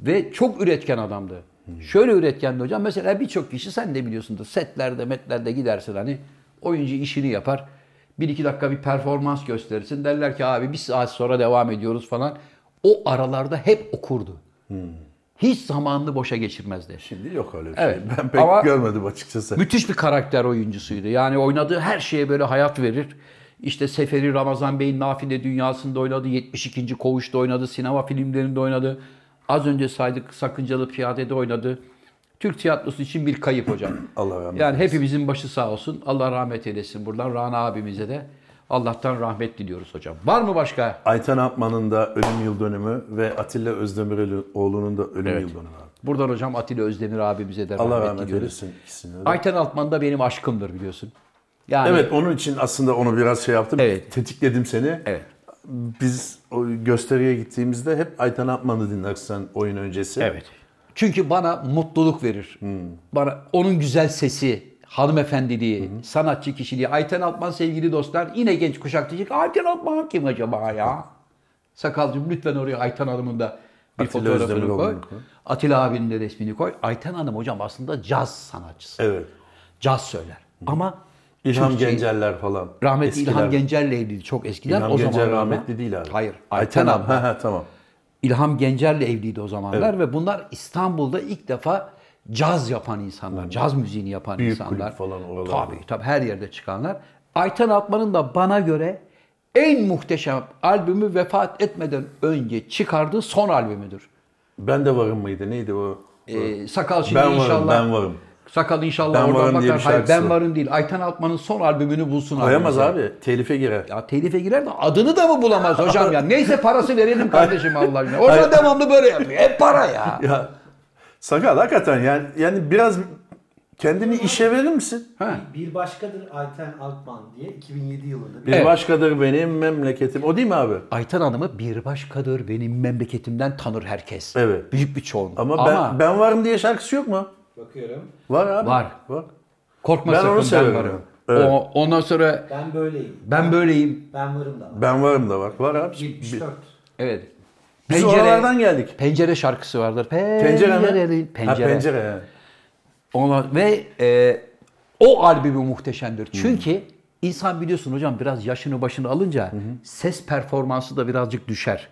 Speaker 3: Ve çok üretken adamdı. Şöyle üretkendi hocam. Mesela birçok kişi sen de biliyorsundur. Setlerde, metlerde gidersin hani oyuncu işini yapar. Bir iki dakika bir performans gösterirsin. Derler ki abi bir saat sonra devam ediyoruz falan. O aralarda hep okurdu. Hiç zamanını boşa geçirmezdi.
Speaker 2: Şimdi yok öyle bir
Speaker 3: Evet.
Speaker 2: şey. Ben pek
Speaker 3: Ama-
Speaker 2: görmedim açıkçası.
Speaker 3: Müthiş bir karakter oyuncusuydu. Yani oynadığı her şeye böyle hayat verir. İşte Seferi Ramazan Bey'in Nafile Dünyası'nda oynadı. 72. Koğuş'ta oynadı. Sinema filmlerinde oynadı. Az önce saydık Sakıncalı Piyade'de oynadı. Türk tiyatrosu için bir kayıp hocam.
Speaker 2: Allah rahmet
Speaker 3: Yani hepimizin başı sağ olsun. Allah rahmet eylesin buradan. Rana abimize de Allah'tan rahmet diliyoruz hocam. Var mı başka?
Speaker 2: Ayten Apman'ın da ölüm yıl dönümü ve Atilla Özdemiroğlu'nun da ölüm yıl dönümü. abi.
Speaker 3: Buradan hocam Atilla Özdemir abimize de rahmet,
Speaker 2: Allah rahmet
Speaker 3: diliyoruz.
Speaker 2: eylesin ikisine de.
Speaker 3: Ayten Altman da benim aşkımdır biliyorsun. Yani
Speaker 2: Evet onun için aslında onu biraz şey yaptım.
Speaker 3: Evet.
Speaker 2: Tetikledim seni.
Speaker 3: Evet.
Speaker 2: Biz o gösteriye gittiğimizde hep Ayten Apman'ı dinlersen oyun öncesi.
Speaker 3: Evet. Çünkü bana mutluluk verir.
Speaker 2: Hmm.
Speaker 3: Bana onun güzel sesi, hanımefendiliği, sanatçı kişiliği. Ayten Altman sevgili dostlar yine genç kuşak diyecek. Ayten Altman kim acaba ya? Sakalcığım lütfen oraya Ayten Hanım'ın da bir
Speaker 2: Atilla
Speaker 3: fotoğrafını
Speaker 2: Özdemiroğlu'nu
Speaker 3: koy.
Speaker 2: koy.
Speaker 3: Atilla abinin de resmini koy. Ayten Hanım hocam aslında caz sanatçısı.
Speaker 2: Evet.
Speaker 3: Caz söyler. Ama
Speaker 2: İlham
Speaker 3: Türkçeyi-
Speaker 2: Gencerler falan.
Speaker 3: şey- Rahmetli İlham
Speaker 2: Eskiler.
Speaker 3: Gencer'le evliydi çok eskiden.
Speaker 2: İlham
Speaker 3: o
Speaker 2: Gencer
Speaker 3: zamanlar ama-
Speaker 2: rahmetli değil abi.
Speaker 3: Hayır.
Speaker 2: Ayten
Speaker 3: Ayten
Speaker 2: Apman.
Speaker 3: Hanım.
Speaker 2: Ha, ha, tamam.
Speaker 3: İlham Gencer'le evliydi o zamanlar ve bunlar İstanbul'da ilk defa caz yapan insanlar, caz müziğini yapan
Speaker 2: Büyük kulüp
Speaker 3: insanlar.
Speaker 2: falan oralarda.
Speaker 3: Tabii tabii her yerde çıkanlar. Ayten Altman'ın da bana göre en muhteşem albümü vefat etmeden önce çıkardığı son albümüdür.
Speaker 2: Ben de varım mıydı? Neydi o?
Speaker 3: Ee, sakal şimdi
Speaker 2: ben varım,
Speaker 3: inşallah.
Speaker 2: ben varım.
Speaker 3: Sakal inşallah
Speaker 2: Ben
Speaker 3: oradan
Speaker 2: varım diye
Speaker 3: bakar.
Speaker 2: bir
Speaker 3: Hayır
Speaker 2: şarkısı
Speaker 3: ben
Speaker 2: var.
Speaker 3: varım değil. Ayten Altman'ın son albümünü bulsun.
Speaker 2: Koyamaz
Speaker 3: albümümüze.
Speaker 2: abi. Telife girer.
Speaker 3: Ya telife girer de adını da mı bulamaz hocam ya? Neyse parası verelim kardeşim Allah aşkına.
Speaker 2: Hayır.
Speaker 3: Orada devamlı böyle yapıyor. Hep para ya.
Speaker 2: Ya sakal hakikaten yani yani biraz kendini işe verir misin?
Speaker 3: Ha.
Speaker 4: Bir başkadır Ayten Altman diye 2007 yılında bir
Speaker 2: Bir
Speaker 3: Evet.
Speaker 2: başkadır benim memleketim. O değil mi abi?
Speaker 3: Aytan Hanım'ı bir başkadır benim memleketimden tanır herkes.
Speaker 2: Evet.
Speaker 3: Büyük bir çoğunluk.
Speaker 2: Ama,
Speaker 3: Ama,
Speaker 2: ben ben varım diye şarkısı yok mu?
Speaker 4: bakıyorum.
Speaker 2: Var abi.
Speaker 3: Var.
Speaker 2: Var.
Speaker 3: korkma
Speaker 2: Ben
Speaker 3: sakın
Speaker 2: onu severim.
Speaker 3: ben varım.
Speaker 2: Evet.
Speaker 3: O, ondan sonra
Speaker 4: Ben böyleyim.
Speaker 3: ben böyleyim.
Speaker 4: Ben varım da var.
Speaker 2: Ben varım da var. Var abi. Bi-
Speaker 4: 74.
Speaker 3: Evet.
Speaker 2: Biz oralardan geldik.
Speaker 3: Pencere şarkısı vardır.
Speaker 2: Pencere mi?
Speaker 3: Pencerenin-
Speaker 2: Ha,
Speaker 3: Pencere.
Speaker 2: pencere. he.
Speaker 3: Ona, ve e, o albümü muhteşemdir.
Speaker 2: Hmm.
Speaker 3: Çünkü insan biliyorsun hocam biraz yaşını başını alınca ses performansı da birazcık düşer.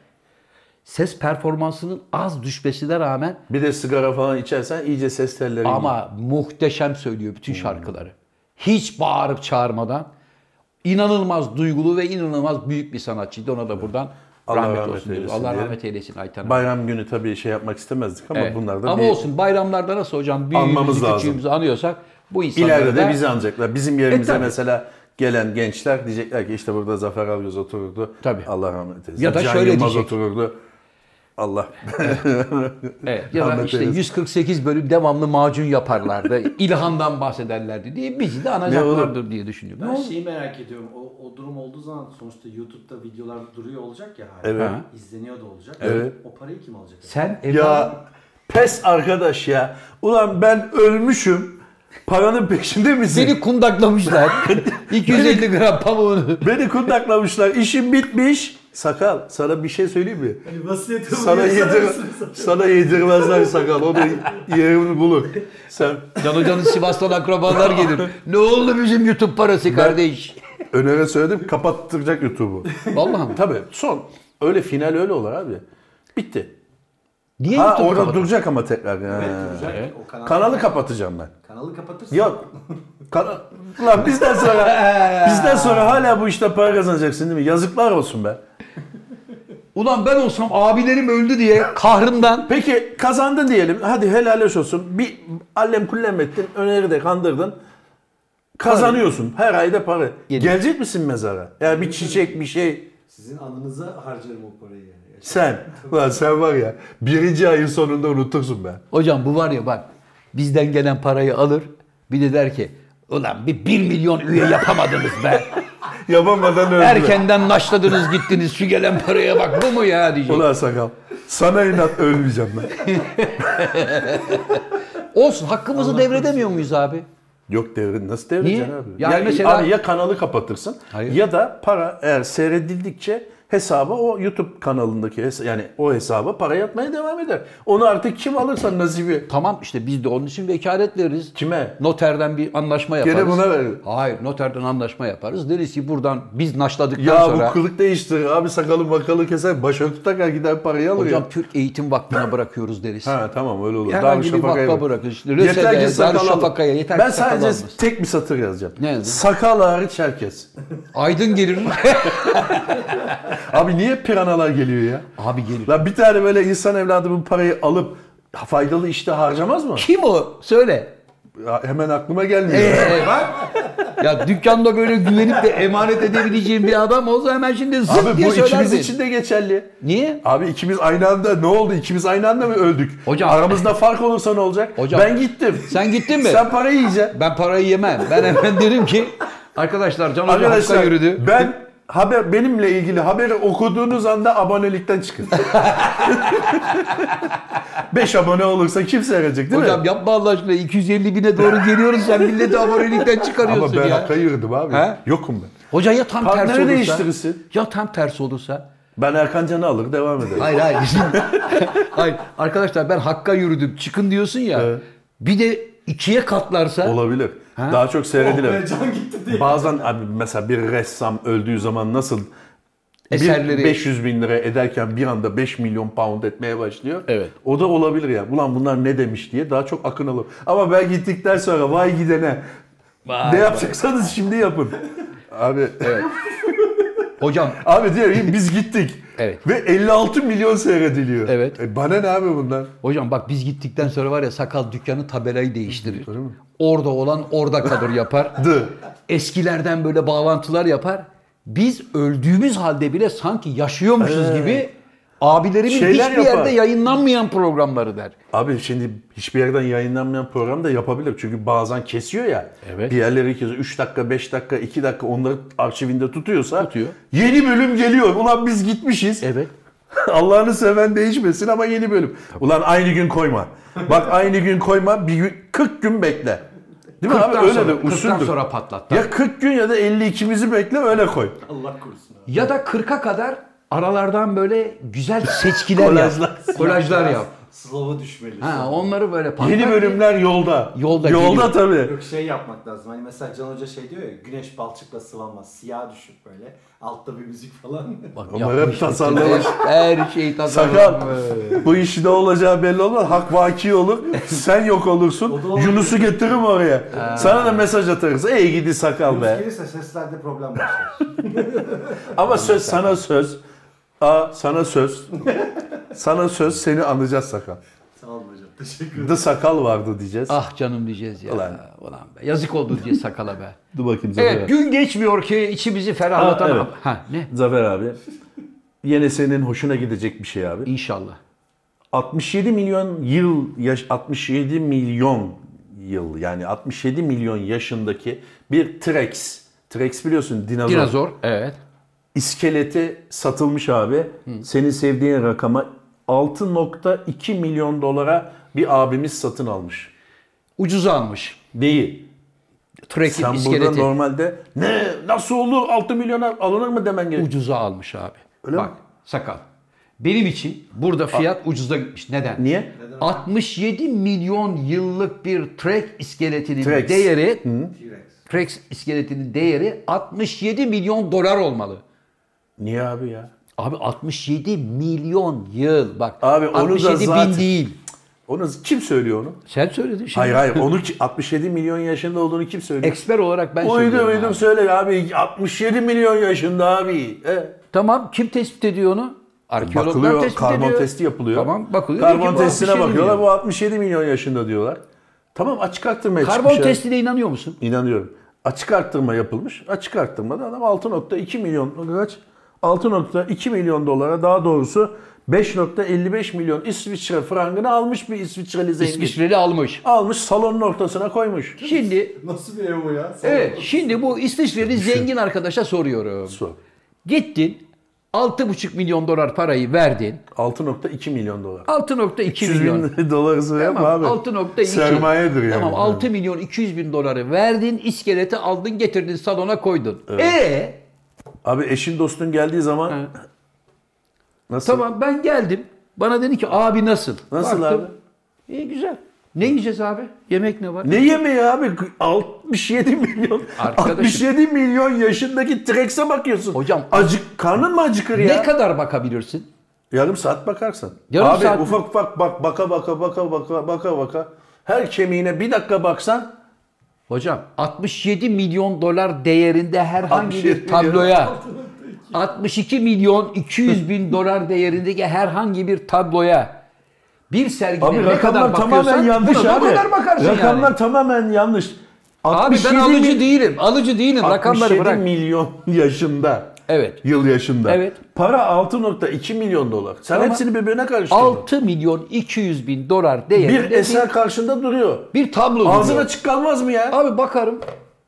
Speaker 3: Ses performansının az düşmesine rağmen
Speaker 2: Bir de sigara falan içersen iyice ses telleri.
Speaker 3: Ama muhteşem söylüyor bütün şarkıları. Hiç bağırıp çağırmadan. İnanılmaz duygulu ve inanılmaz büyük bir sanatçıydı. Ona da buradan
Speaker 2: Allah
Speaker 3: rahmet,
Speaker 2: rahmet
Speaker 3: olsun. diyoruz.
Speaker 2: eylesin
Speaker 3: Allah
Speaker 2: diyelim.
Speaker 3: rahmet eylesin Ayten Hanım.
Speaker 2: Bayram günü tabii şey yapmak istemezdik ama
Speaker 3: Evet.
Speaker 2: bunlar da
Speaker 3: Ama
Speaker 2: bir-
Speaker 3: olsun bayramlarda nasıl hocam
Speaker 2: Anmamız
Speaker 3: büyüğümüzü
Speaker 2: lazım.
Speaker 3: küçüğümüzü anıyorsak bu insanlar
Speaker 2: İleride de bizi anacaklar. Bizim yerimize
Speaker 3: E, tabii.
Speaker 2: mesela gelen gençler diyecekler ki işte burada Zafer Algöz otururdu.
Speaker 3: Tabii.
Speaker 2: Allah rahmet eylesin.
Speaker 3: Ya da
Speaker 2: Can
Speaker 3: şöyle
Speaker 2: Yılmaz
Speaker 3: diyecek.
Speaker 2: otururdu. Allah.
Speaker 3: Evet, ya da
Speaker 2: Rahmet
Speaker 3: işte
Speaker 2: eylesin.
Speaker 3: 148 bölüm devamlı macun yaparlardı. İlhan'dan bahsederlerdi diye bizi de anacaklardır diye düşünüyorum.
Speaker 4: Ben
Speaker 3: Ne oldu?
Speaker 4: şeyi merak ediyorum. O, o durum olduğu zaman sonuçta YouTube'da videolar duruyor olacak ya hala.
Speaker 2: Evet.
Speaker 4: Ha. İzleniyor da olacak.
Speaker 2: Evet.
Speaker 4: O parayı kim alacak?
Speaker 3: Sen
Speaker 2: ya
Speaker 3: Eva
Speaker 2: pes arkadaş ya. Ulan ben ölmüşüm. Paranın peşinde misin?
Speaker 3: seni kundaklamışlar. 250 gram pamuğunu.
Speaker 2: Beni kundaklamışlar. İşim bitmiş. Sakal sana bir şey söyleyeyim mi?
Speaker 4: Hani vasiyeti
Speaker 2: Sana, yedir, sana yedirmezler sakal. Onu yerini bulur. Sen
Speaker 3: Can Hoca'nın Sivas'tan akrabalar gelir. Ne oldu bizim YouTube parası kardeş?
Speaker 2: Öner'e söyledim kapattıracak YouTube'u.
Speaker 3: Vallahi mi?
Speaker 2: Tabii son. Öyle final öyle olur abi. Bitti.
Speaker 3: Niye
Speaker 2: Ha
Speaker 3: YouTube'u
Speaker 2: orada
Speaker 3: kapattın?
Speaker 2: duracak ama tekrar. Ha.
Speaker 4: O kanal,
Speaker 2: Kanalı kapatacağım ben.
Speaker 4: kanalı kapatırsan.
Speaker 2: Yok. Kana- Lan bizden sonra bizden sonra hala bu işte para kazanacaksın değil mi? Yazıklar olsun be.
Speaker 3: Ulan ben olsam abilerim öldü diye kahrımdan.
Speaker 2: Peki kazandın diyelim. Hadi helal hoş olsun. Bir allem kullem ettin. Öneri de kandırdın. Kazanıyorsun. Her ayda para.
Speaker 3: Yedi.
Speaker 2: Gelecek misin mezara? Yani bir çiçek bir şey.
Speaker 4: Sizin anınıza harcarım o parayı yani.
Speaker 2: Sen. Lan sen var ya. Birinci ayın sonunda unutursun be.
Speaker 3: Hocam bu var ya bak bizden gelen parayı alır bir de der ki ulan bir 1 milyon üye yapamadınız be.
Speaker 2: Yapamadan öldü.
Speaker 3: Erkenden naşladınız gittiniz şu gelen paraya bak bu mu ya diyecek.
Speaker 2: Ulan sakal. Sana inat ölmeyeceğim ben.
Speaker 3: Olsun hakkımızı devredemiyor muyuz abi?
Speaker 2: Yok devrin nasıl devredeceksin
Speaker 3: Niye?
Speaker 2: abi?
Speaker 3: Yani
Speaker 2: ya,
Speaker 3: mesela-
Speaker 2: abi ya kanalı kapatırsın
Speaker 3: Hayır.
Speaker 2: ya da para eğer seyredildikçe hesaba o YouTube kanalındaki hesa- yani o hesaba para yatmaya devam eder. Onu artık kim alırsa nasibi.
Speaker 3: Tamam işte biz de onun için vekalet veririz.
Speaker 2: Kime?
Speaker 3: Noterden bir anlaşma yaparız.
Speaker 2: buna verir.
Speaker 3: Hayır noterden anlaşma yaparız. Deriz ki buradan biz naşladıktan
Speaker 2: Ya
Speaker 3: sonra...
Speaker 2: bu kılık değiştir abi sakalı makalı keser başörtü takar gider parayı alır
Speaker 3: Hocam
Speaker 2: ya.
Speaker 3: Türk Eğitim Vakfı'na bırakıyoruz deriz.
Speaker 2: Ha tamam öyle olur.
Speaker 3: Herhangi bir
Speaker 2: Darüşşafaka'ya
Speaker 3: vakfa
Speaker 2: bak.
Speaker 3: bırakın. İşte
Speaker 2: Yeter ki
Speaker 3: Rize'de,
Speaker 2: sakal al.
Speaker 3: Darüşşafaka'ya yeter
Speaker 2: Ben
Speaker 3: ki sakal
Speaker 2: sadece
Speaker 3: almasın.
Speaker 2: tek bir satır yazacağım.
Speaker 3: Ne yazdın?
Speaker 2: Sakal hariç herkes.
Speaker 3: Aydın gelir.
Speaker 2: Abi niye piranalar geliyor ya?
Speaker 3: Abi gelir.
Speaker 2: La bir tane böyle insan evladı bu parayı alıp faydalı işte harcamaz mı?
Speaker 3: Kim o? Söyle.
Speaker 2: Ya hemen aklıma gelmiyor.
Speaker 3: Ee, bak. Ya dükkanda böyle güvenip de emanet edebileceğim bir adam olsa hemen şimdi zıp
Speaker 2: Abi
Speaker 3: diye
Speaker 2: bu ikimiz
Speaker 3: söylerdin.
Speaker 2: için de geçerli.
Speaker 3: Niye?
Speaker 2: Abi ikimiz aynı anda ne oldu? İkimiz aynı anda mı öldük?
Speaker 3: Hocam-
Speaker 2: Aramızda fark olursa ne olacak?
Speaker 3: Hocam-
Speaker 2: ben gittim.
Speaker 3: Sen gittin mi?
Speaker 2: Sen parayı yiyeceksin.
Speaker 3: Ben parayı yemem. Ben hemen derim ki arkadaşlar Can Hoca hakka
Speaker 2: Arkadaşlar
Speaker 3: yürüdü.
Speaker 2: ben haber benimle ilgili haberi okuduğunuz anda abonelikten çıkın. 5 abone olursa kim seyredecek değil
Speaker 3: Hocam
Speaker 2: mi?
Speaker 3: yapma Allah aşkına 250 bine doğru geliyoruz sen milleti abonelikten
Speaker 2: Ama
Speaker 3: çıkarıyorsun
Speaker 2: ben
Speaker 3: ya.
Speaker 2: hakka yürüdüm abi.
Speaker 3: He?
Speaker 2: Yokum ben.
Speaker 3: Hoca ya tam
Speaker 2: Partneri
Speaker 3: tersi olursa.
Speaker 2: değiştirirsin.
Speaker 3: Ya tam tersi olursa.
Speaker 2: Ben Erkan Can'ı alır devam ederim.
Speaker 3: Hayır hayır. Şimdi- hayır. Arkadaşlar ben hakka yürüdüm. Çıkın diyorsun ya.
Speaker 2: Evet.
Speaker 3: Bir de ikiye katlarsa.
Speaker 2: Olabilir.
Speaker 3: Ha?
Speaker 2: Daha çok seyredilir.
Speaker 4: Ve can gitti diye.
Speaker 2: Bazen abi mesela bir ressam öldüğü zaman nasıl bir
Speaker 3: Eserleri-
Speaker 2: 500 bin lira ederken bir anda 5 milyon pound etmeye başlıyor.
Speaker 3: Evet.
Speaker 2: O da olabilir ya. Ulan bunlar ne demiş diye daha çok akın alır. Ama ben gittikten sonra vay gidene.
Speaker 3: Vay
Speaker 2: ne
Speaker 3: vay.
Speaker 2: yapacaksanız şimdi yapın. Abi
Speaker 3: Hocam
Speaker 2: abi diyelim biz gittik.
Speaker 3: Evet.
Speaker 2: Ve 56 milyon seyrediliyor.
Speaker 3: Evet.
Speaker 2: E bana ne abi bunlar?
Speaker 3: Hocam bak biz gittikten sonra var ya sakal dükkanı tabelayı değiştirir. Orada olan orada kalır yapar.
Speaker 2: Dı.
Speaker 3: Eskilerden böyle bağlantılar yapar. Biz öldüğümüz halde bile sanki yaşıyormuşuz gibi abilerimin
Speaker 2: Şeyler
Speaker 3: hiçbir
Speaker 2: yapar.
Speaker 3: yerde yayınlanmayan programları der.
Speaker 2: Abi şimdi hiçbir yerden yayınlanmayan program da yapabilir. Çünkü bazen kesiyor ya.
Speaker 3: Evet.
Speaker 2: Bir yerleri kesiyor. 3 dakika, 5 dakika, 2 dakika onları arşivinde tutuyorsa.
Speaker 3: Tutuyor.
Speaker 2: Yeni bölüm geliyor. Ulan biz gitmişiz.
Speaker 3: Evet.
Speaker 2: Allah'ını seven değişmesin ama yeni bölüm. Ulan aynı gün koyma. Bak aynı gün koyma. Bir gün, 40 gün bekle. Değil mi abi?
Speaker 3: 40'tan
Speaker 2: Öyle
Speaker 3: sonra,
Speaker 2: de
Speaker 3: 40'tan
Speaker 2: usuldür.
Speaker 3: sonra patlat.
Speaker 2: Ya 40 gün ya da 52'mizi bekle öyle koy.
Speaker 4: Allah korusun abi.
Speaker 3: Ya da 40'a kadar aralardan böyle güzel seçkiler
Speaker 2: Kolajlar.
Speaker 3: yap. Kolajlar yap.
Speaker 4: Slova düşmeli.
Speaker 3: Ha, onları böyle patlat.
Speaker 2: Yeni bölümler yolda.
Speaker 3: Yolda
Speaker 2: Yolda
Speaker 3: geliyor.
Speaker 2: tabii.
Speaker 4: Yok şey yapmak lazım. Hani mesela Can Hoca şey diyor ya güneş balçıkla sıvanmaz. Siyah düşüp böyle. Altta bir müzik falan.
Speaker 3: Bak,
Speaker 2: Onları
Speaker 3: yapmış
Speaker 2: hep tasarlamış.
Speaker 3: Her şeyi
Speaker 2: Sakal
Speaker 3: tasarlamış.
Speaker 2: bu işi ne olacağı belli olmaz. Hak vaki olur. Sen yok olursun.
Speaker 4: O da olur.
Speaker 2: Yunus'u getiririm oraya. Sana da mesaj atarız. Ey gidi sakal
Speaker 4: Yunus
Speaker 2: be.
Speaker 4: gelirse seslerde problem başlar.
Speaker 2: Ama söz sana söz. A sana söz. sana söz seni anacağız sakal.
Speaker 4: Sağ olun hocam. Teşekkür ederim.
Speaker 2: The sakal vardı diyeceğiz.
Speaker 3: Ah canım diyeceğiz ya.
Speaker 2: Ulan.
Speaker 3: Ulan, be. Yazık oldu diye sakala be.
Speaker 2: Dur bakayım Zafer
Speaker 3: Evet
Speaker 2: abi.
Speaker 3: gün geçmiyor ki içimizi
Speaker 2: Aa,
Speaker 3: ferahlatan.
Speaker 2: evet.
Speaker 3: Ha ne?
Speaker 2: Zafer abi. Yine senin hoşuna gidecek bir şey abi.
Speaker 3: İnşallah.
Speaker 2: 67 milyon yıl yaş 67 milyon yıl yani 67 milyon yaşındaki bir T-Rex. T-Rex biliyorsun dinozor.
Speaker 3: Dinozor. Evet.
Speaker 2: İskeleti satılmış abi. Senin sevdiğin rakama 6.2 milyon dolara bir abimiz satın almış.
Speaker 3: Ucuza almış.
Speaker 2: Değil.
Speaker 3: Trekking
Speaker 2: Sen
Speaker 3: iskeleti
Speaker 2: burada normalde ne nasıl olur 6 milyona alınır mı demen gerekiyor.
Speaker 3: ucuza almış abi.
Speaker 2: Öyle
Speaker 3: Bak
Speaker 2: mi?
Speaker 3: sakal. Benim için burada fiyat ucuza gitmiş. Neden?
Speaker 2: Niye?
Speaker 3: 67 milyon yıllık bir Trek iskeletinin
Speaker 2: Trex.
Speaker 3: değeri
Speaker 4: T-Rex.
Speaker 3: Trex iskeletinin değeri 67 milyon dolar olmalı.
Speaker 2: Niye abi ya?
Speaker 3: Abi 67 milyon yıl bak.
Speaker 2: Abi onu da
Speaker 3: 67 bin
Speaker 2: zaten-
Speaker 3: değil.
Speaker 2: Onu kim söylüyor onu?
Speaker 3: Sen söyledin şimdi.
Speaker 2: Hayır hayır onu ki- 67 milyon yaşında olduğunu kim söylüyor?
Speaker 3: Eksper olarak ben
Speaker 2: Uydum
Speaker 3: söylüyorum. abi.
Speaker 2: uydum söyle abi 67 milyon yaşında abi. E,
Speaker 3: Tamam kim tespit ediyor onu? Arkeologlar
Speaker 2: bakılıyor
Speaker 3: tespit
Speaker 2: karbon
Speaker 3: ediyor.
Speaker 2: testi yapılıyor.
Speaker 3: Tamam bakılıyor. Diyor
Speaker 2: Karbon
Speaker 3: ki bu
Speaker 2: testine
Speaker 3: 67
Speaker 2: bakıyorlar
Speaker 3: milyon.
Speaker 2: bu 67 milyon yaşında diyorlar. Tamam açık arttırmaya
Speaker 3: Karbon
Speaker 2: çıkmış. abi.
Speaker 3: testine inanıyor musun?
Speaker 2: İnanıyorum. Açık arttırma yapılmış. Açık arttırmada adam 6.2 milyon kaç? 6.2 milyon dolara daha doğrusu 5.55 milyon İsviçre frangını almış bir İsviçreli zengin.
Speaker 3: İsviçreli almış.
Speaker 2: Almış salonun ortasına koymuş.
Speaker 3: Şimdi
Speaker 4: Nasıl bir ev o ya? Sağ
Speaker 3: evet şey-
Speaker 4: olun.
Speaker 3: şimdi bu İsviçreli zengin arkadaşa soruyorum.
Speaker 2: Su.
Speaker 3: Gittin 6,5 milyon dolar parayı verdin.
Speaker 2: 6.2 milyon dolar.
Speaker 3: 6.2
Speaker 2: 300
Speaker 3: milyon.
Speaker 2: bin dolar sıraya mı
Speaker 3: Tamam,
Speaker 2: abi?
Speaker 3: 6.2.
Speaker 2: Sermayedir yani.
Speaker 3: Tamam 6 milyon 200 bin doları verdin, iskeleti aldın, getirdin salona koydun. E
Speaker 2: Abi eşin dostun geldiği zaman nasıl?
Speaker 3: tamam ben geldim. Bana dedi ki abi nasıl?
Speaker 2: Nasıl
Speaker 3: Baktım, İyi güzel. Ne yiyeceğiz abi? Yemek ne var?
Speaker 2: Ne yemeği abi? 67 milyon.
Speaker 3: Arkadaşım.
Speaker 2: 67 milyon yaşındaki T-Rex'e bakıyorsun.
Speaker 3: Hocam.
Speaker 2: Acık, karnın mı acıkır
Speaker 3: Ne
Speaker 2: ya?
Speaker 3: kadar bakabilirsin?
Speaker 2: Yarım saat bakarsın.
Speaker 3: Yarım
Speaker 2: abi
Speaker 3: saat mi?
Speaker 2: ufak ufak bak baka baka baka baka baka baka. Her kemiğine bir dakika baksan
Speaker 3: Hocam 67 milyon dolar değerinde herhangi
Speaker 2: 67
Speaker 3: bir
Speaker 2: milyon.
Speaker 3: tabloya 62 milyon 200 bin dolar değerindeki herhangi bir tabloya bir sergide
Speaker 2: abi
Speaker 3: ne kadar
Speaker 2: rakamlar tamamen
Speaker 3: bakıyorsan
Speaker 2: yanlış
Speaker 3: buna da
Speaker 2: abi.
Speaker 3: o kadar bakarsın yani.
Speaker 2: rakamlar tamamen yanlış.
Speaker 3: Abi
Speaker 2: 67
Speaker 3: ben alıcı
Speaker 2: mi-
Speaker 3: değilim. Alıcı değilim. Rakamları
Speaker 2: 67
Speaker 3: bırak.
Speaker 2: milyon yaşında.
Speaker 3: Evet.
Speaker 2: Yıl yaşında.
Speaker 3: Evet.
Speaker 2: Para 6.2 milyon dolar. Sen
Speaker 3: Tamam.
Speaker 2: hepsini birbirine karıştırdın.
Speaker 3: 6 milyon 200 bin dolar değerinde bir,
Speaker 2: bir eser karşında duruyor.
Speaker 3: bir tablo.
Speaker 2: Ağzın
Speaker 3: duruyor.
Speaker 2: açık kalmaz mı ya?
Speaker 3: Abi bakarım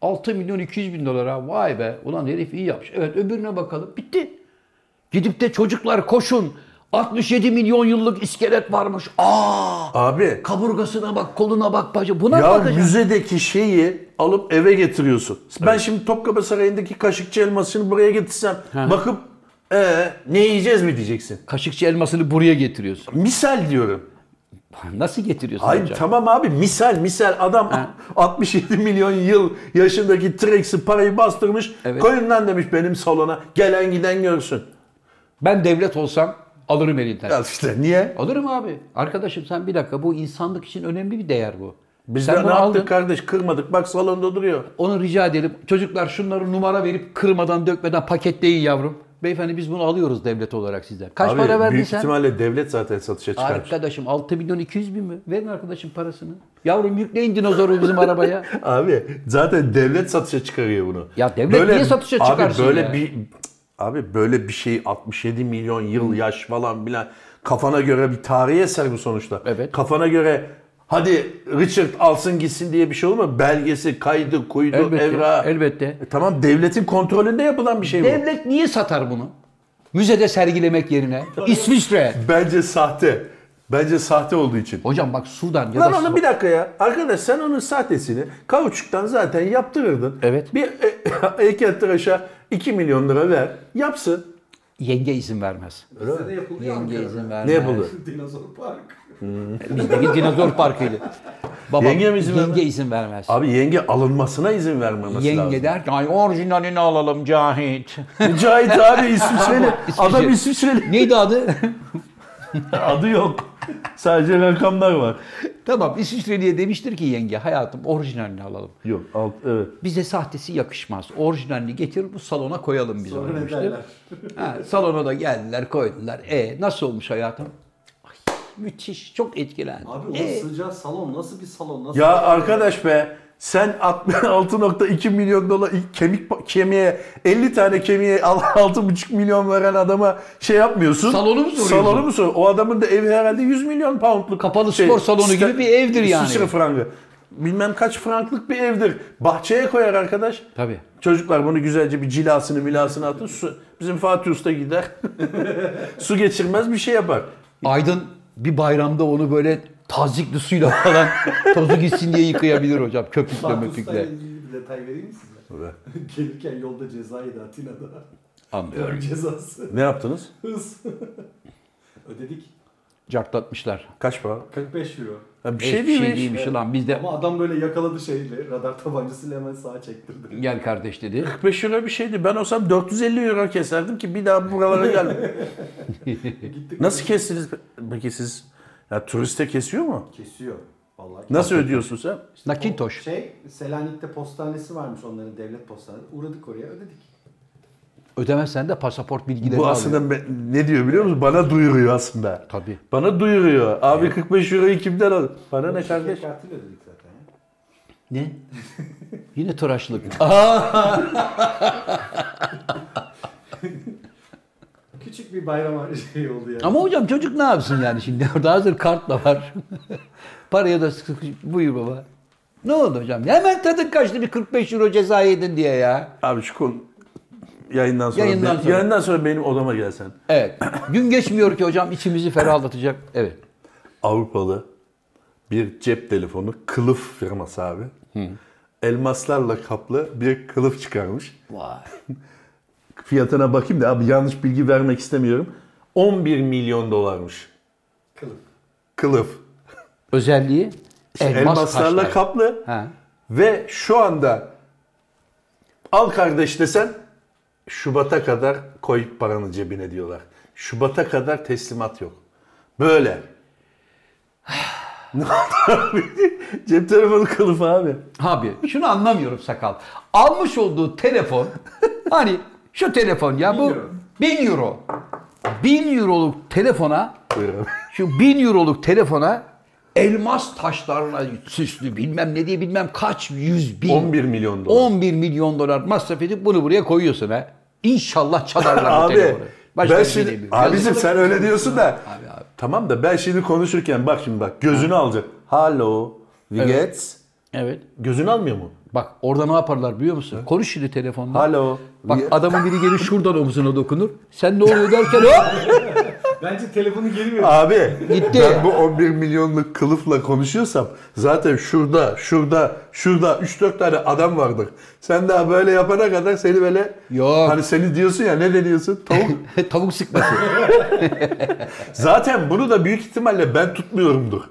Speaker 3: 6 milyon 200 bin dolara vay be ulan herif iyi yapmış. Evet öbürüne bakalım bitti. Gidip de çocuklar koşun 67 milyon yıllık iskelet varmış. Aa
Speaker 2: Abi
Speaker 3: kaburgasına bak koluna bak bacı buna
Speaker 2: ya
Speaker 3: bakacağım.
Speaker 2: müzedeki şeyi alıp eve getiriyorsun. Ben şimdi Topkapı Sarayı'ndaki kaşıkçı elmasını buraya getirsem bakıp ee, ne yiyeceğiz mi diyeceksin.
Speaker 3: Kaşıkçı elmasını buraya getiriyorsun.
Speaker 2: Misal diyorum.
Speaker 3: Nasıl getiriyorsun
Speaker 2: Ay
Speaker 3: hocam?
Speaker 2: tamam abi misal misal adam 67 milyon yıl yaşındaki T-Rex'i parayı bastırmış.
Speaker 3: Evet.
Speaker 2: Koyun lan demiş benim salona gelen giden görsün.
Speaker 3: ben devlet olsam alırım elinden.
Speaker 2: Ya işte niye?
Speaker 3: Alırım abi. Arkadaşım sen bir dakika bu insanlık için önemli bir değer bu.
Speaker 2: Biz
Speaker 3: sen
Speaker 2: de ne
Speaker 3: bunu aldın.
Speaker 2: yaptık kardeş kırmadık bak salonda duruyor.
Speaker 3: Onu rica edelim. Çocuklar şunları numara verip kırmadan dökmeden paketleyin yavrum. Beyefendi biz bunu alıyoruz devlet olarak sizden. Kaç
Speaker 2: Abi,
Speaker 3: para verdin
Speaker 2: büyük
Speaker 3: sen?
Speaker 2: ihtimalle devlet zaten satışa çıkarmış.
Speaker 3: Arkadaşım 6 milyon 200 bin mi? Verin arkadaşım parasını. Yavrum yükleyin dinozoru bizim arabaya.
Speaker 2: Abi zaten devlet satışa çıkarıyor bunu.
Speaker 3: Ya devlet niye satışa çıkarsın
Speaker 2: Abi böyle
Speaker 3: ya?
Speaker 2: bir abi böyle bir şey 67 milyon yıl yaş falan bilen kafana göre bir tarihi eser bu sonuçta.
Speaker 3: Evet.
Speaker 2: Kafana göre hadi Richard alsın gitsin diye bir şey olur mu? Belgesi, kaydı, kuydu,
Speaker 3: Elbette.
Speaker 2: evrağı.
Speaker 3: Elbette.
Speaker 2: E tamam devletin kontrolünde yapılan bir şey bu.
Speaker 3: Devlet niye satar bunu? Müzede sergilemek yerine. İsviçre.
Speaker 2: Bence sahte. Bence sahte olduğu için.
Speaker 3: Hocam bak Sudan ya
Speaker 2: Lan
Speaker 3: da
Speaker 2: onu
Speaker 3: Su-
Speaker 2: bir dakika ya. Arkadaş sen onun sahtesini kauçuktan zaten yaptırırdın.
Speaker 3: Evet.
Speaker 2: Bir e, heykel tıraşa 2 milyon lira ver. Yapsın.
Speaker 3: yenge izin vermez.
Speaker 4: Bizde de yapılıyor
Speaker 3: Yenge
Speaker 4: Ankara'da.
Speaker 3: izin vermez.
Speaker 2: Ne yapıldı?
Speaker 4: Dinozor Park.
Speaker 3: Bizdeki dinozor parkıydı. Baba,
Speaker 2: Yenge mi izin
Speaker 3: yenge
Speaker 2: vermez?
Speaker 3: izin vermez.
Speaker 2: Abi yenge alınmasına izin vermemesi
Speaker 3: Yenge
Speaker 2: lazım.
Speaker 3: der ki ay orijinalini alalım Cahit.
Speaker 2: Mücahit abi İsviçreli.
Speaker 3: İsviçre.
Speaker 2: Adam İsviçreli.
Speaker 3: Neydi adı?
Speaker 2: Adı yok. Sadece rakamlar var.
Speaker 3: Tamam İsviçreli'ye demiştir ki yenge hayatım orijinalini alalım.
Speaker 2: Yok alt evet.
Speaker 3: Bize sahtesi yakışmaz. Orijinalini getir bu salona koyalım biz
Speaker 4: Sonra
Speaker 3: onu
Speaker 4: ne
Speaker 3: demiştir.
Speaker 4: derler?
Speaker 3: Ha, salona da geldiler koydular. E nasıl olmuş hayatım? Ay, müthiş çok etkilendim.
Speaker 4: Abi o
Speaker 3: E,
Speaker 4: sıcağı salon nasıl bir salon? Nasıl
Speaker 2: Ya arkadaş be sen 66.2 milyon dolar kemik kemiğe 50 tane kemiğe al- 6.5 milyon veren adama şey yapmıyorsun.
Speaker 3: Salonu mu soruyorsun?
Speaker 2: Salonu mu soruyorsun? O adamın da evi herhalde 100 milyon poundluk. şey,
Speaker 3: Kapalı spor salonu
Speaker 2: sta-
Speaker 3: gibi bir evdir yani.
Speaker 2: İsviçre frangı. Bilmem kaç franklık bir evdir. Bahçeye koyar arkadaş.
Speaker 3: Tabii.
Speaker 2: Çocuklar bunu güzelce bir cilasını milasını atın. Su, bizim Fatih Usta gider. su geçirmez bir şey yapar.
Speaker 3: Aydın bir bayramda onu böyle tazikli suyla falan tozu gitsin diye yıkayabilir hocam köpükle
Speaker 4: Fatih Usta'yla
Speaker 3: möpükle.
Speaker 4: ilgili bir detay vereyim mi size? Gelirken yolda ceza yedi Atina'da.
Speaker 3: Anlıyorum.
Speaker 4: Ölüm cezası.
Speaker 2: Ne yaptınız?
Speaker 4: Hız. Ödedik.
Speaker 3: Cartlatmışlar.
Speaker 2: Kaç para?
Speaker 4: 45 euro.
Speaker 2: Ha, bir
Speaker 3: Hiçbir
Speaker 2: şey değil mi?
Speaker 3: değilmiş lan biz de
Speaker 4: Ama adam böyle yakaladı şeyle. Radar tabancasıyla hemen sağa çektirdi.
Speaker 3: gel kardeş dedi.
Speaker 2: 45 euro bir şeydi. Ben olsam 450 euro keserdim ki bir daha buralara gelme.
Speaker 4: Gittik.
Speaker 2: Nasıl kestiniz? Peki siz ya turiste kesiyor mu?
Speaker 4: Kesiyor. Vallahi
Speaker 2: Nasıl ödüyorsun sen?
Speaker 4: İşte
Speaker 3: Nakintoş.
Speaker 4: o Şey, Selanik'te postanesi varmış onların devlet postanesi. Uğradık oraya ödedik.
Speaker 3: Ödemezsen de pasaport bilgilerini
Speaker 2: Bu
Speaker 3: alıyor.
Speaker 2: aslında be- ne diyor biliyor musun? Bana duyuruyor aslında.
Speaker 3: Tabii.
Speaker 2: Bana duyuruyor. Abi 45 euroyu kimden al? Bana ne kardeş?
Speaker 4: Şirket kartıyla ödedik zaten ya.
Speaker 3: Ne? Yine tıraşlık.
Speaker 4: Küçük bir bayram şey oldu yani.
Speaker 3: Ama hocam çocuk ne yapsın yani şimdi? Orada hazır kartla var. Paraya da sıkı buyur baba. Ne oldu hocam? Hemen tadın kaçtı bir 45 euro ceza yedin diye ya.
Speaker 2: Abi şu konu yayından sonra,
Speaker 3: Yayından
Speaker 2: be-
Speaker 3: sonra.
Speaker 2: yayından sonra benim odama gelsen.
Speaker 3: Evet. Gün geçmiyor ki hocam içimizi ferahlatacak. Evet.
Speaker 2: Avrupalı bir cep telefonu kılıf firması abi. Elmaslarla kaplı bir kılıf çıkarmış.
Speaker 3: Vay.
Speaker 2: Fiyatına bakayım da abi yanlış bilgi vermek istemiyorum. 11 milyon dolarmış
Speaker 4: Kılıf.
Speaker 2: kılıf.
Speaker 3: Özelliği elmas
Speaker 2: Elmaslarla
Speaker 3: taşlar.
Speaker 2: kaplı
Speaker 3: Ha.
Speaker 2: ve şu anda al kardeş desen Şubat'a kadar koy paranı cebine diyorlar. Şubat'a kadar teslimat yok. Böyle. ne oldu abi? Cep telefonu kılıfı abi.
Speaker 3: Abi şunu anlamıyorum sakal. Almış olduğu telefon hani şu telefon ya bu
Speaker 4: Bin euro.
Speaker 3: 1000 euro. 1000 euroluk telefona
Speaker 2: Buyur abi.
Speaker 3: Şu 1000 euroluk telefona elmas taşlarla süslü bilmem ne diye bilmem kaç yüz bin.
Speaker 2: 11 milyon dolar.
Speaker 3: 11 milyon dolar masraf edip bunu buraya koyuyorsun ha. İnşallah çalarlar bu
Speaker 2: Abi
Speaker 3: telefonu.
Speaker 2: ben
Speaker 3: bir şey
Speaker 2: şimdi
Speaker 3: demiyorum.
Speaker 2: abicim sen öyle diyorsun da
Speaker 3: Abi, abi.
Speaker 2: tamam da ben şimdi konuşurken bak şimdi bak gözünü alacak. Hello Vigets.
Speaker 3: Evet.
Speaker 2: Gözünü almıyor mu?
Speaker 3: Bak orada ne yaparlar biliyor musun? Konuş şimdi telefonla.
Speaker 2: Alo.
Speaker 3: Bak
Speaker 2: Ye-
Speaker 3: adamın biri gelir şuradan omzuna dokunur. Sen ne oluyor derken hop
Speaker 4: Bence telefonu geri ver.
Speaker 2: Abi
Speaker 3: Gitti.
Speaker 2: ben bu 11 milyonluk kılıfla konuşuyorsam zaten şurada, şurada, şurada 3-4 tane adam vardır. Sen daha böyle yapana kadar seni böyle
Speaker 3: Yok.
Speaker 2: hani seni diyorsun ya ne deniyorsun? Tavuk.
Speaker 3: tavuk sıkması.
Speaker 2: zaten bunu da büyük ihtimalle ben tutmuyorumdur.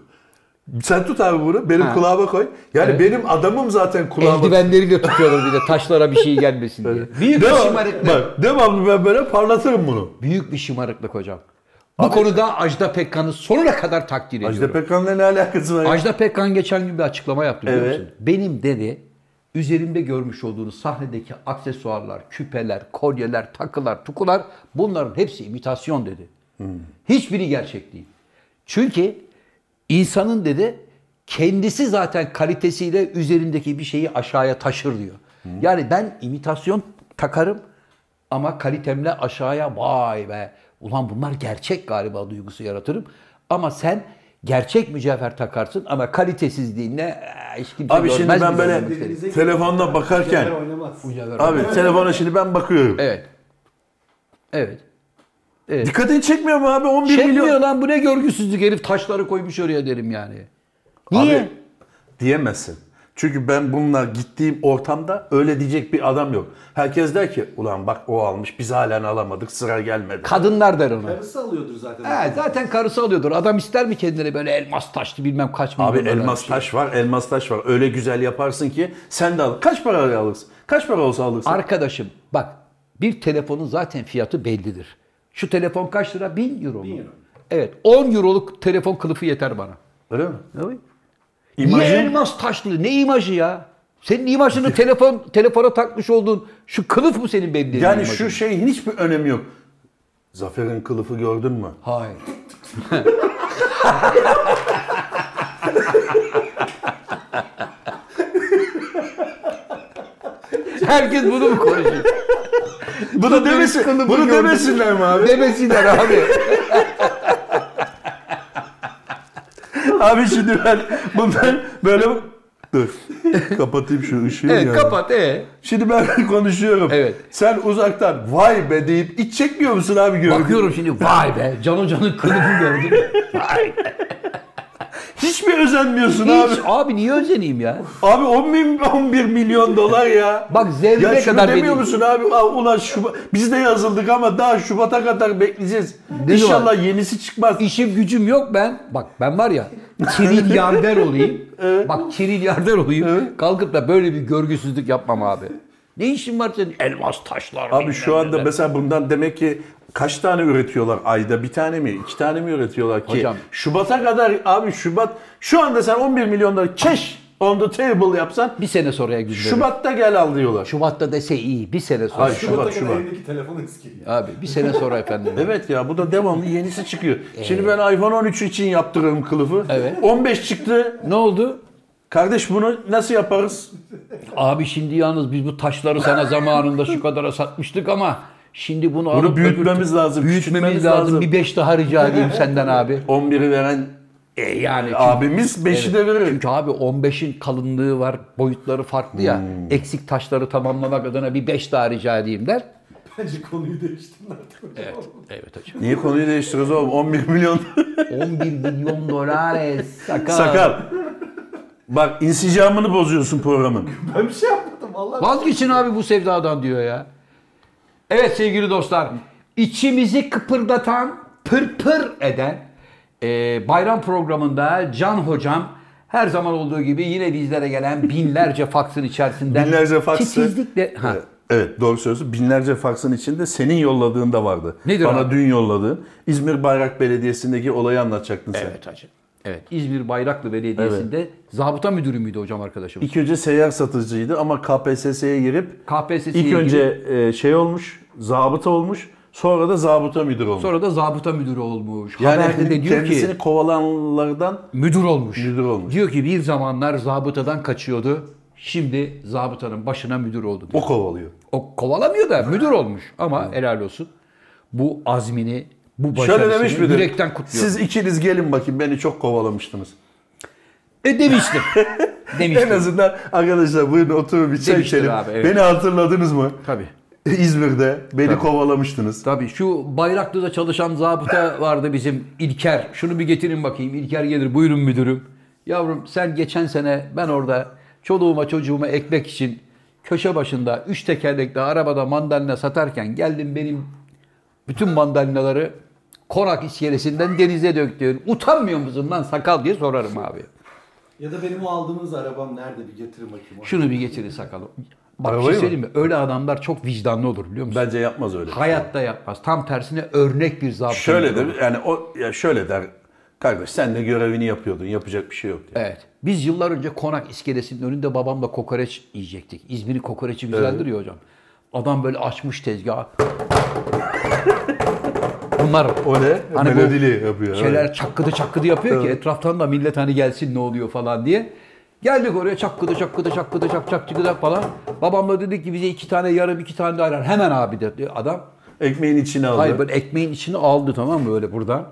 Speaker 2: Sen tut abi bunu benim kulağıma koy. Yani benim adamım zaten kulağıma.
Speaker 3: Eldivenleriyle tutuyorlar bir de taşlara bir şey gelmesin diye. Büyük bir
Speaker 2: Devam,
Speaker 3: şımarıklık.
Speaker 2: bak devamlı ben böyle parlatırım bunu.
Speaker 3: Büyük bir şımarıklık hocam. Bu konuda Ajda Pekkan'ı sonuna kadar takdir ediyorum.
Speaker 2: Ajda Pekkan'la ne alakası var? ya?
Speaker 3: Ajda Pekkan geçen gün bir açıklama yaptı biliyor
Speaker 2: Evet.
Speaker 3: musun? Benim dedi üzerimde görmüş olduğunuz sahnedeki aksesuarlar, küpeler, kolyeler, takılar, tukular bunların hepsi imitasyon dedi. Hiçbiri gerçek değil. Çünkü insanın dedi kendisi zaten kalitesiyle üzerindeki bir şeyi aşağıya taşır diyor. Yani ben imitasyon takarım ama kalitemle aşağıya vay be ulan bunlar gerçek galiba duygusu yaratırım. Ama sen gerçek mücevher takarsın ama kalitesizliğinle eh, hiç kimse
Speaker 2: Abi şimdi
Speaker 3: görmez
Speaker 2: ben
Speaker 3: mi
Speaker 2: böyle-
Speaker 3: görmek seni?
Speaker 4: Birbirinize-
Speaker 2: Telefonda bakarken-
Speaker 4: Mücevher Oynamaz.
Speaker 3: Mücevher
Speaker 2: Abi
Speaker 3: olmaz.
Speaker 2: telefona şimdi ben bakıyorum.
Speaker 3: Evet. Evet.
Speaker 2: Dikkatini çekmiyor mu abi 11
Speaker 3: Çekmiyor
Speaker 2: milyon?
Speaker 3: lan bu ne görgüsüzlük herif taşları koymuş oraya derim yani. Niye?
Speaker 2: Abi, diyemezsin. Çünkü ben bununla gittiğim ortamda öyle diyecek bir adam yok. Herkes der ki ulan bak o almış biz halen alamadık sıra gelmedi.
Speaker 3: Kadınlar der ona.
Speaker 4: Karısı alıyordur zaten.
Speaker 3: He, zaten karısı alıyordur. Adam ister mi kendine böyle elmas taşlı bilmem kaç milyon
Speaker 2: Abi
Speaker 3: dolar
Speaker 2: elmas
Speaker 3: şey?
Speaker 2: taş var elmas taş var öyle güzel yaparsın ki sen de al. Kaç paraya alırsın? Kaç para olsa alırsın?
Speaker 3: Arkadaşım bak bir telefonun zaten fiyatı bellidir. Şu telefon kaç lira? 1000 euro mu?
Speaker 4: Bin euro.
Speaker 3: Evet 10 euroluk telefon kılıfı yeter bana.
Speaker 2: Öyle mi?
Speaker 3: Evet. Niye
Speaker 2: İmajın
Speaker 3: elmas taşlı? Ne imajı ya? Senin imajını telefon telefona takmış olduğun şu kılıf mı senin benim dediğin
Speaker 2: yani
Speaker 3: imajın?
Speaker 2: şu şeyin hiçbir önemi yok. Zafer'in kılıfı gördün mü?
Speaker 3: Hayır. Herkes bunu mu konuşuyor?
Speaker 2: Bunu demesin, bunu demesinler mi abi?
Speaker 3: Demesinler abi.
Speaker 2: abi şimdi ben bundan böyle dur. Kapatayım şu ışığı
Speaker 3: Evet
Speaker 2: ya.
Speaker 3: kapat e.
Speaker 2: Şimdi ben konuşuyorum.
Speaker 3: Evet.
Speaker 2: Sen uzaktan vay be deyip iç çekmiyor musun abi gördün?
Speaker 3: Bakıyorum şimdi vay be Can Hoca'nın kılıfı gördüm.
Speaker 2: Hiç mi özenmiyorsun abi?
Speaker 3: Hiç abi niye özeneyim ya?
Speaker 2: Abi 10 bin, 11 milyon dolar ya.
Speaker 3: Bak zerre
Speaker 2: ya şunu
Speaker 3: kadar
Speaker 2: demiyor
Speaker 3: benim-
Speaker 2: musun abi? Aa, ulan Şubat, biz de yazıldık ama daha Şubat'a kadar bekleyeceğiz.
Speaker 3: Ne
Speaker 2: İnşallah yenisi çıkmaz.
Speaker 3: İşim gücüm yok ben. Bak ben var ya trilyarder olayım. Bak trilyarder olayım. Kalkıp da böyle bir görgüsüzlük yapmam abi. Ne işin var senin? Elmas taşlar.
Speaker 2: Abi şu anda mesela bundan demek ki kaç tane üretiyorlar ayda? Bir tane mi? iki tane mi üretiyorlar ki?
Speaker 3: Hocam.
Speaker 2: Şubat'a kadar abi Şubat şu anda sen 11 milyon dolar cash on the table yapsan
Speaker 3: Bir sene sonraya güzel.
Speaker 2: Şubat'ta gel al diyorlar.
Speaker 3: Şubat'ta dese iyi. Bir sene sonra.
Speaker 2: Ay, şu-
Speaker 4: Şubat'a
Speaker 2: Şubat,
Speaker 4: kadar
Speaker 2: Şubat.
Speaker 4: evdeki telefon eski.
Speaker 3: Abi bir sene sonra efendim.
Speaker 2: Evet ya bu da devamlı yenisi çıkıyor. Şimdi ben iPhone 13 için yaptırıyorum kılıfı.
Speaker 3: Evet.
Speaker 2: 15 çıktı.
Speaker 3: Ne oldu?
Speaker 2: Kardeş bunu nasıl yaparız?
Speaker 3: Abi şimdi yalnız biz bu taşları sana zamanında şu kadara satmıştık ama şimdi bunu
Speaker 2: Bunu
Speaker 3: alıp
Speaker 2: büyütmemiz lazım,
Speaker 3: büyütmemiz
Speaker 2: küçültmemiz
Speaker 3: lazım.
Speaker 2: lazım.
Speaker 3: Bir beş daha rica edeyim senden abi.
Speaker 2: 11'i veren
Speaker 3: E yani çünkü-
Speaker 2: abimiz 5'i de verir.
Speaker 3: Çünkü abi 15'in kalınlığı var, boyutları farklı ya.
Speaker 2: Hmm.
Speaker 3: Eksik taşları tamamlamak adına bir 5 daha rica edeyim der.
Speaker 4: Bence konuyu değiştirdin artık. Evet.
Speaker 3: Evet hocam.
Speaker 2: Niye konuyu değiştiriyoruz oğlum? 11 milyon
Speaker 3: 11 milyon dolar sakal.
Speaker 2: sakal. Bak insicamını bozuyorsun programın.
Speaker 4: Ben bir şey yapmadım vallahi.
Speaker 3: Vazgeçin abi bu sevdadan diyor ya. Evet sevgili dostlar. içimizi kıpırdatan, pırpır eden e, bayram programında Can Hocam her zaman olduğu gibi yine bizlere gelen binlerce faksın içerisinden
Speaker 2: Binlerce faksı.
Speaker 3: titizlikle ha,
Speaker 2: Ee, Evet doğru söylüyorsun. Binlerce faksın içinde senin yolladığın da vardı.
Speaker 3: Nedir
Speaker 2: Bana
Speaker 3: abi?
Speaker 2: dün yolladığın. İzmir Bayrak Belediyesi'ndeki olayı anlatacaktın sen.
Speaker 3: Evet hacı. Evet. İzmir Bayraklı Belediyesi'nde zabıta müdürü müydü hocam arkadaşımız?
Speaker 2: İlk önce seyyar satıcıydı ama KPSS'ye girip
Speaker 3: KPSS'ye
Speaker 2: ilk
Speaker 3: girip-
Speaker 2: önce e, şey olmuş, zabıta olmuş, sonra da zabıta müdür olmuş.
Speaker 3: Sonra da zabıta müdürü olmuş.
Speaker 2: yani hani
Speaker 3: Haberde de diyor
Speaker 2: kendisini
Speaker 3: ki
Speaker 2: kovalanlardan
Speaker 3: müdür olmuş.
Speaker 2: Müdür olmuş.
Speaker 3: Diyor ki bir zamanlar zabıtadan kaçıyordu. Şimdi zabıtanın başına müdür oldu.
Speaker 2: o
Speaker 3: Diyor.
Speaker 2: kovalıyor.
Speaker 3: O kovalamıyor da müdür olmuş. Ama helal olsun. Bu azmini, bu
Speaker 2: Şöyle demiş
Speaker 3: başarısını
Speaker 2: müdür.
Speaker 3: yürekten kutluyor.
Speaker 2: Siz ikiniz gelin bakayım beni çok kovalamıştınız.
Speaker 3: E demiştim. demiştim.
Speaker 2: En azından arkadaşlar buyurun oturun bir çay
Speaker 3: Demiştir
Speaker 2: içelim.
Speaker 3: abi, evet.
Speaker 2: Beni hatırladınız mı?
Speaker 3: Tabii.
Speaker 2: İzmir'de beni kovalamıştınız.
Speaker 3: Tabii şu Bayraklı'da çalışan zabıta vardı bizim İlker. Şunu bir getirin bakayım. İlker gelir buyurun müdürüm. Yavrum sen geçen sene ben orada çoluğuma çocuğuma ekmek için köşe başında üç tekerlekli arabada mandalina satarken geldin benim bütün mandalinaları konak iskelesinden denize döktün. Utanmıyor musun lan sakal diye sorarım abi.
Speaker 4: Ya da benim o aldığınız arabam nerede bir getirin bakayım.
Speaker 3: Şunu bir getirin sakalım. Bak bir şey
Speaker 2: Arabayı mı?
Speaker 3: söyleyeyim mi? Öyle adamlar çok vicdanlı olur biliyor musun?
Speaker 2: Bence yapmaz öyle. şey.
Speaker 3: Hayatta yapmaz. Tam tersine örnek bir zabıta.
Speaker 2: Şöyle
Speaker 3: müdürü.
Speaker 2: de yani o ya şöyle der. Kardeş sen de görevini yapıyordun. Yapacak bir şey yok. diye.
Speaker 3: Evet. Biz yıllar önce konak iskelesinin önünde babamla kokoreç yiyecektik. İzmir'in kokoreçi güzeldir ya hocam. Adam böyle açmış tezgahı. Bunlar
Speaker 2: O ne?
Speaker 3: Hani bu
Speaker 2: Melodili yapıyor.
Speaker 3: şeyler
Speaker 2: evet.
Speaker 3: çakkıdı çakkıdı yapıyor ki etraftan da millet hani gelsin ne oluyor falan diye. Geldik oraya çakkıdı çakkıdı çakkıdı çak çak çakkıdı falan. Babamla dedik ki bize iki tane yarım iki tane de ayran. Hemen abi dedi adam.
Speaker 2: Ekmeğin içine aldı.
Speaker 3: Hayır böyle ekmeğin içini aldı tamam mı böyle buradan.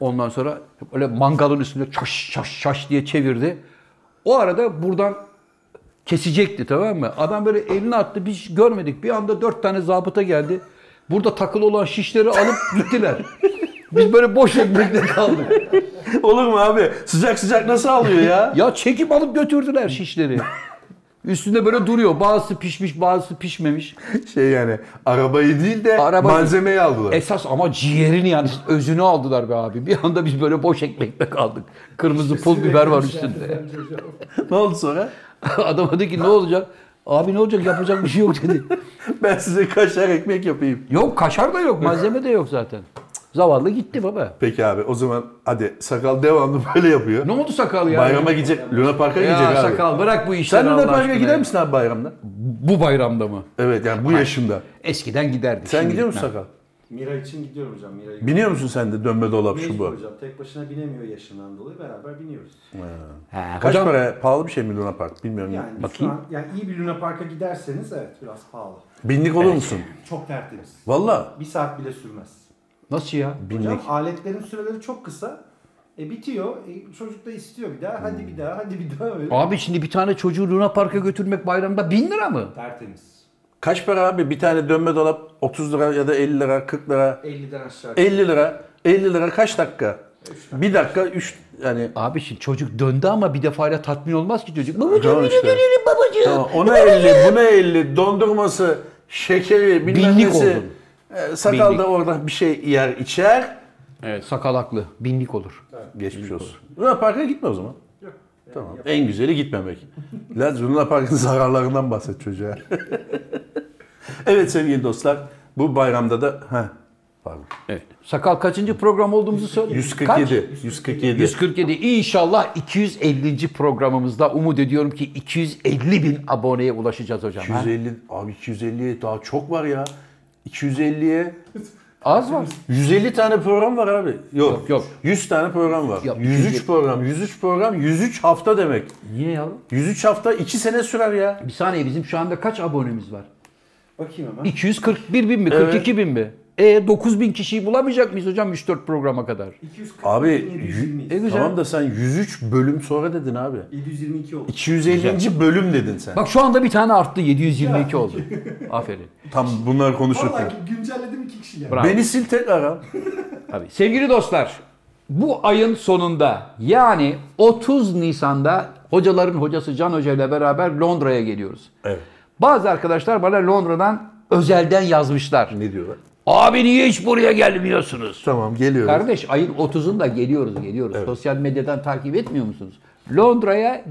Speaker 3: Ondan sonra böyle mangalın üstünde çaş çaş çaş diye çevirdi. O arada buradan kesecekti tamam mı? Adam böyle elini attı biz görmedik. Bir anda dört tane zabıta geldi. Burada takılı olan şişleri alıp gittiler. Biz böyle boş ekmekle kaldık.
Speaker 2: Olur mu abi? Sıcak sıcak nasıl alıyor ya?
Speaker 3: Ya çekip alıp götürdüler şişleri. Üstünde böyle duruyor. Bazısı pişmiş, bazısı pişmemiş.
Speaker 2: şey yani arabayı değil de
Speaker 3: Araba- E-
Speaker 2: malzemeyi aldılar.
Speaker 3: Esas ama ciğerini yani özünü aldılar be abi. Bir anda biz böyle boş ekmekle kaldık. Kırmızı pul biber var üstünde.
Speaker 2: ne oldu sonra?
Speaker 3: Adam dedi ki ne olacak? Abi ne olacak yapacak bir şey yok dedi.
Speaker 2: Ben size kaşar ekmek yapayım.
Speaker 3: Yok kaşar da yok malzeme de yok zaten. Zavallı gitti baba.
Speaker 2: Peki abi o zaman hadi sakal devamlı böyle yapıyor.
Speaker 3: Ne oldu sakal ya?
Speaker 2: Bayrama gidecek. Luna Park'a
Speaker 3: ya
Speaker 2: gidecek abi.
Speaker 3: sakal bırak bu işleri
Speaker 2: Sen Luna
Speaker 3: Allah
Speaker 2: Park'a
Speaker 3: aşkına
Speaker 2: gider
Speaker 3: ya.
Speaker 2: misin abi bayramda?
Speaker 3: Bu bayramda mı?
Speaker 2: Evet yani bu yaşımda.
Speaker 3: Eskiden giderdik.
Speaker 2: Sen
Speaker 3: şimdi
Speaker 2: gidiyor musun
Speaker 3: gitmem.
Speaker 2: sakal?
Speaker 4: Mira için gidiyorum hocam. Mira'yı
Speaker 2: Biniyor musun sen de dönme dolap şu
Speaker 4: Mecbur
Speaker 2: bu?
Speaker 4: hocam. Tek başına binemiyor yaşından dolayı. Beraber biniyoruz.
Speaker 3: Ha,
Speaker 2: Kaç
Speaker 3: hocam,
Speaker 2: para? Pahalı bir şey mi Luna Park? Bilmiyorum.
Speaker 4: Yani
Speaker 3: Bakayım.
Speaker 4: Şu an, yani iyi bir Luna Park'a giderseniz evet biraz pahalı.
Speaker 2: Binlik olur musun?
Speaker 4: Çok tertemiz.
Speaker 2: Valla.
Speaker 4: Bir saat bile sürmez.
Speaker 3: Nasıl ya?
Speaker 4: Hocam aletlerin süreleri çok kısa. E bitiyor. E, çocuk da istiyor bir daha. Hadi
Speaker 3: Hmm.
Speaker 4: bir daha. Hadi bir daha öyle.
Speaker 3: Abi şimdi bir tane çocuğu Luna Park'a götürmek bayramda bin lira mı?
Speaker 4: Tertemiz.
Speaker 2: Kaç para abi? Bir tane dönme dolap 30 lira ya da 50 lira, 40 lira,
Speaker 4: 50'den aşağı.
Speaker 3: E-
Speaker 2: 50 lira. 50 lira kaç dakika? Bir dakika 3 yani
Speaker 3: Abi şimdi çocuk döndü ama bir defayla tatmin olmaz ki çocuk. Babacığım
Speaker 2: Tamam
Speaker 3: yine
Speaker 2: işte.
Speaker 3: dönelim babacığım.
Speaker 2: Tamam, ona 50, buna 50, dondurması, şekeri, bilmem
Speaker 3: Binlik
Speaker 2: nesi.
Speaker 3: oldun.
Speaker 2: Ee, sakal
Speaker 3: Binlik.
Speaker 2: da orada bir şey yer, içer.
Speaker 3: Evet sakalaklı. Binlik olur.
Speaker 2: Geçmiş olsun. Luna Park'a gitme o zaman.
Speaker 4: Yok. Yani
Speaker 2: Tamam. En güzeli gitmemek. Lan Luna Park'ın zararlarından bahset çocuğa. evet sevgili dostlar, bu bayramda da... Heh, pardon.
Speaker 3: Evet. Sakal kaçıncı program olduğumuzu söyle.
Speaker 2: 147. 147.
Speaker 3: 147. İnşallah 250. programımızda umut ediyorum ki 250 bin aboneye ulaşacağız hocam. ha?
Speaker 2: 250 abi 250'ye daha çok var ya. 250'ye
Speaker 3: Az var.
Speaker 2: 150 tane program var abi. Yok.
Speaker 3: Yok, yok.
Speaker 2: 100 tane program var.
Speaker 3: Yok,
Speaker 2: 103
Speaker 3: 250.
Speaker 2: program. 103 program. 103 hafta demek.
Speaker 3: Niye yavrum?
Speaker 2: 103 hafta 2 sene sürer ya.
Speaker 3: Bir saniye bizim şu anda kaç abonemiz var?
Speaker 4: Bakayım hemen.
Speaker 3: 241 bin mi? 42 bin mi? E 9 bin kişiyi bulamayacak mıyız hocam 3-4 programa kadar?
Speaker 4: 240
Speaker 2: Abi
Speaker 3: E,
Speaker 2: yü-
Speaker 3: güzel.
Speaker 2: tamam da sen 103 bölüm sonra dedin abi.
Speaker 4: 722 oldu.
Speaker 2: 250. bölüm dedin sen.
Speaker 3: Bak şu anda bir tane arttı 722 oldu. Aferin.
Speaker 2: Tam bunlar konuşurken.
Speaker 4: Vallahi güncelledim iki kişi geldi.
Speaker 3: Bravo.
Speaker 2: Beni sil tekrar al.
Speaker 3: Tabii. Sevgili dostlar, bu ayın sonunda yani 30 Nisan'da hocaların hocası Can Hoca ile beraber Londra'ya geliyoruz.
Speaker 2: Evet.
Speaker 3: Bazı arkadaşlar bana Londra'dan özelden yazmışlar.
Speaker 2: Ne diyorlar?
Speaker 3: Abi niye hiç buraya gelmiyorsunuz?
Speaker 2: Tamam geliyoruz.
Speaker 3: Kardeş ayın 30'unda geliyoruz geliyoruz. Sosyal medyadan takip etmiyor musunuz? Londra'ya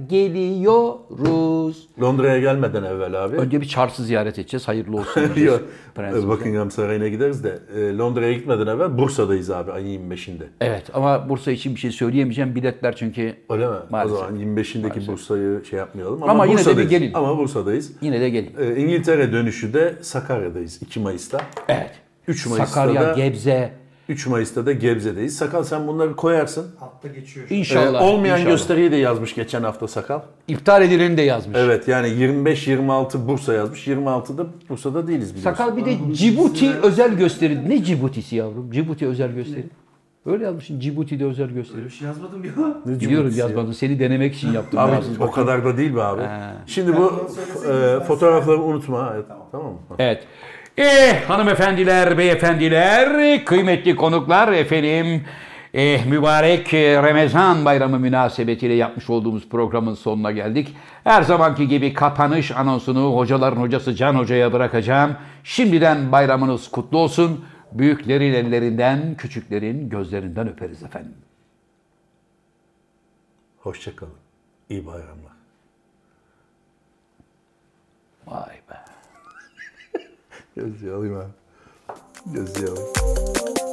Speaker 3: geliyoruz.
Speaker 2: Londra'ya gelmeden evvel abi.
Speaker 3: Önce bir çarşı ziyaret edeceğiz. Hayırlı olsun. diyeceğiz
Speaker 2: Yok.
Speaker 3: prensimize.
Speaker 2: Buckingham Sarayı'na gideriz de e, Londra'ya gitmeden evvel Bursa'dayız abi ayın 25'inde.
Speaker 3: Evet ama Bursa için bir şey söyleyemeyeceğim. Biletler çünkü
Speaker 2: Öyle mi?
Speaker 3: Maalesef.
Speaker 2: O zaman 25'indeki Bursa'yı şey yapmayalım ama,
Speaker 3: Ama yine de bir
Speaker 2: Bursa'dayız.
Speaker 3: gelin.
Speaker 2: Ama Bursa'dayız.
Speaker 3: yine de gelin.
Speaker 2: E, İngiltere dönüşü de Sakarya'dayız 2 Mayıs'ta.
Speaker 3: Evet.
Speaker 2: 3 Mayıs'ta
Speaker 3: Sakarya,
Speaker 2: da
Speaker 3: Gebze.
Speaker 2: 3 Mayıs'ta da Gebze'deyiz. Sakal sen bunları koyarsın.
Speaker 4: Altta geçiyor. şu.
Speaker 2: E,
Speaker 3: İnşallah.
Speaker 2: olmayan
Speaker 3: inşallah.
Speaker 2: gösteriyi de yazmış geçen hafta Sakal.
Speaker 3: İptal edileni de yazmış.
Speaker 2: Evet yani 25-26 Bursa yazmış. 26'da Bursa'da değiliz biliyorsun.
Speaker 3: Sakal bir de Cibuti özel gösteri. Ne Cibuti'si yavrum? Cibuti özel gösteri. Öyle yazmışsın. Cibuti'de özel gösteri.
Speaker 4: Böyle bir şey yazmadım ya.
Speaker 2: Ne
Speaker 3: Biliyorum
Speaker 2: Cibutisi ya?
Speaker 3: yazmadın. Seni denemek için yaptım.
Speaker 2: Abi
Speaker 3: Yazdım.
Speaker 2: o kadar da değil be abi. Şimdi
Speaker 4: Ben
Speaker 2: bu
Speaker 4: bunu söyleseydim
Speaker 2: e,
Speaker 4: ben-
Speaker 2: fotoğrafları unutma. Evet, tamam. mı?
Speaker 3: Evet. Eh hanımefendiler, beyefendiler, kıymetli konuklar efendim. Eh, mübarek eh, Ramazan bayramı münasebetiyle yapmış olduğumuz programın sonuna geldik. Her zamanki gibi kapanış anonsunu hocaların hocası Can Hoca'ya bırakacağım. Şimdiden bayramınız kutlu olsun. Büyüklerin ellerinden, küçüklerin gözlerinden öperiz efendim.
Speaker 2: Hoşça kalın. İyi bayramlar.
Speaker 3: Vay be.
Speaker 2: Gözlüğü alayım abi. Gözlüğü alayım.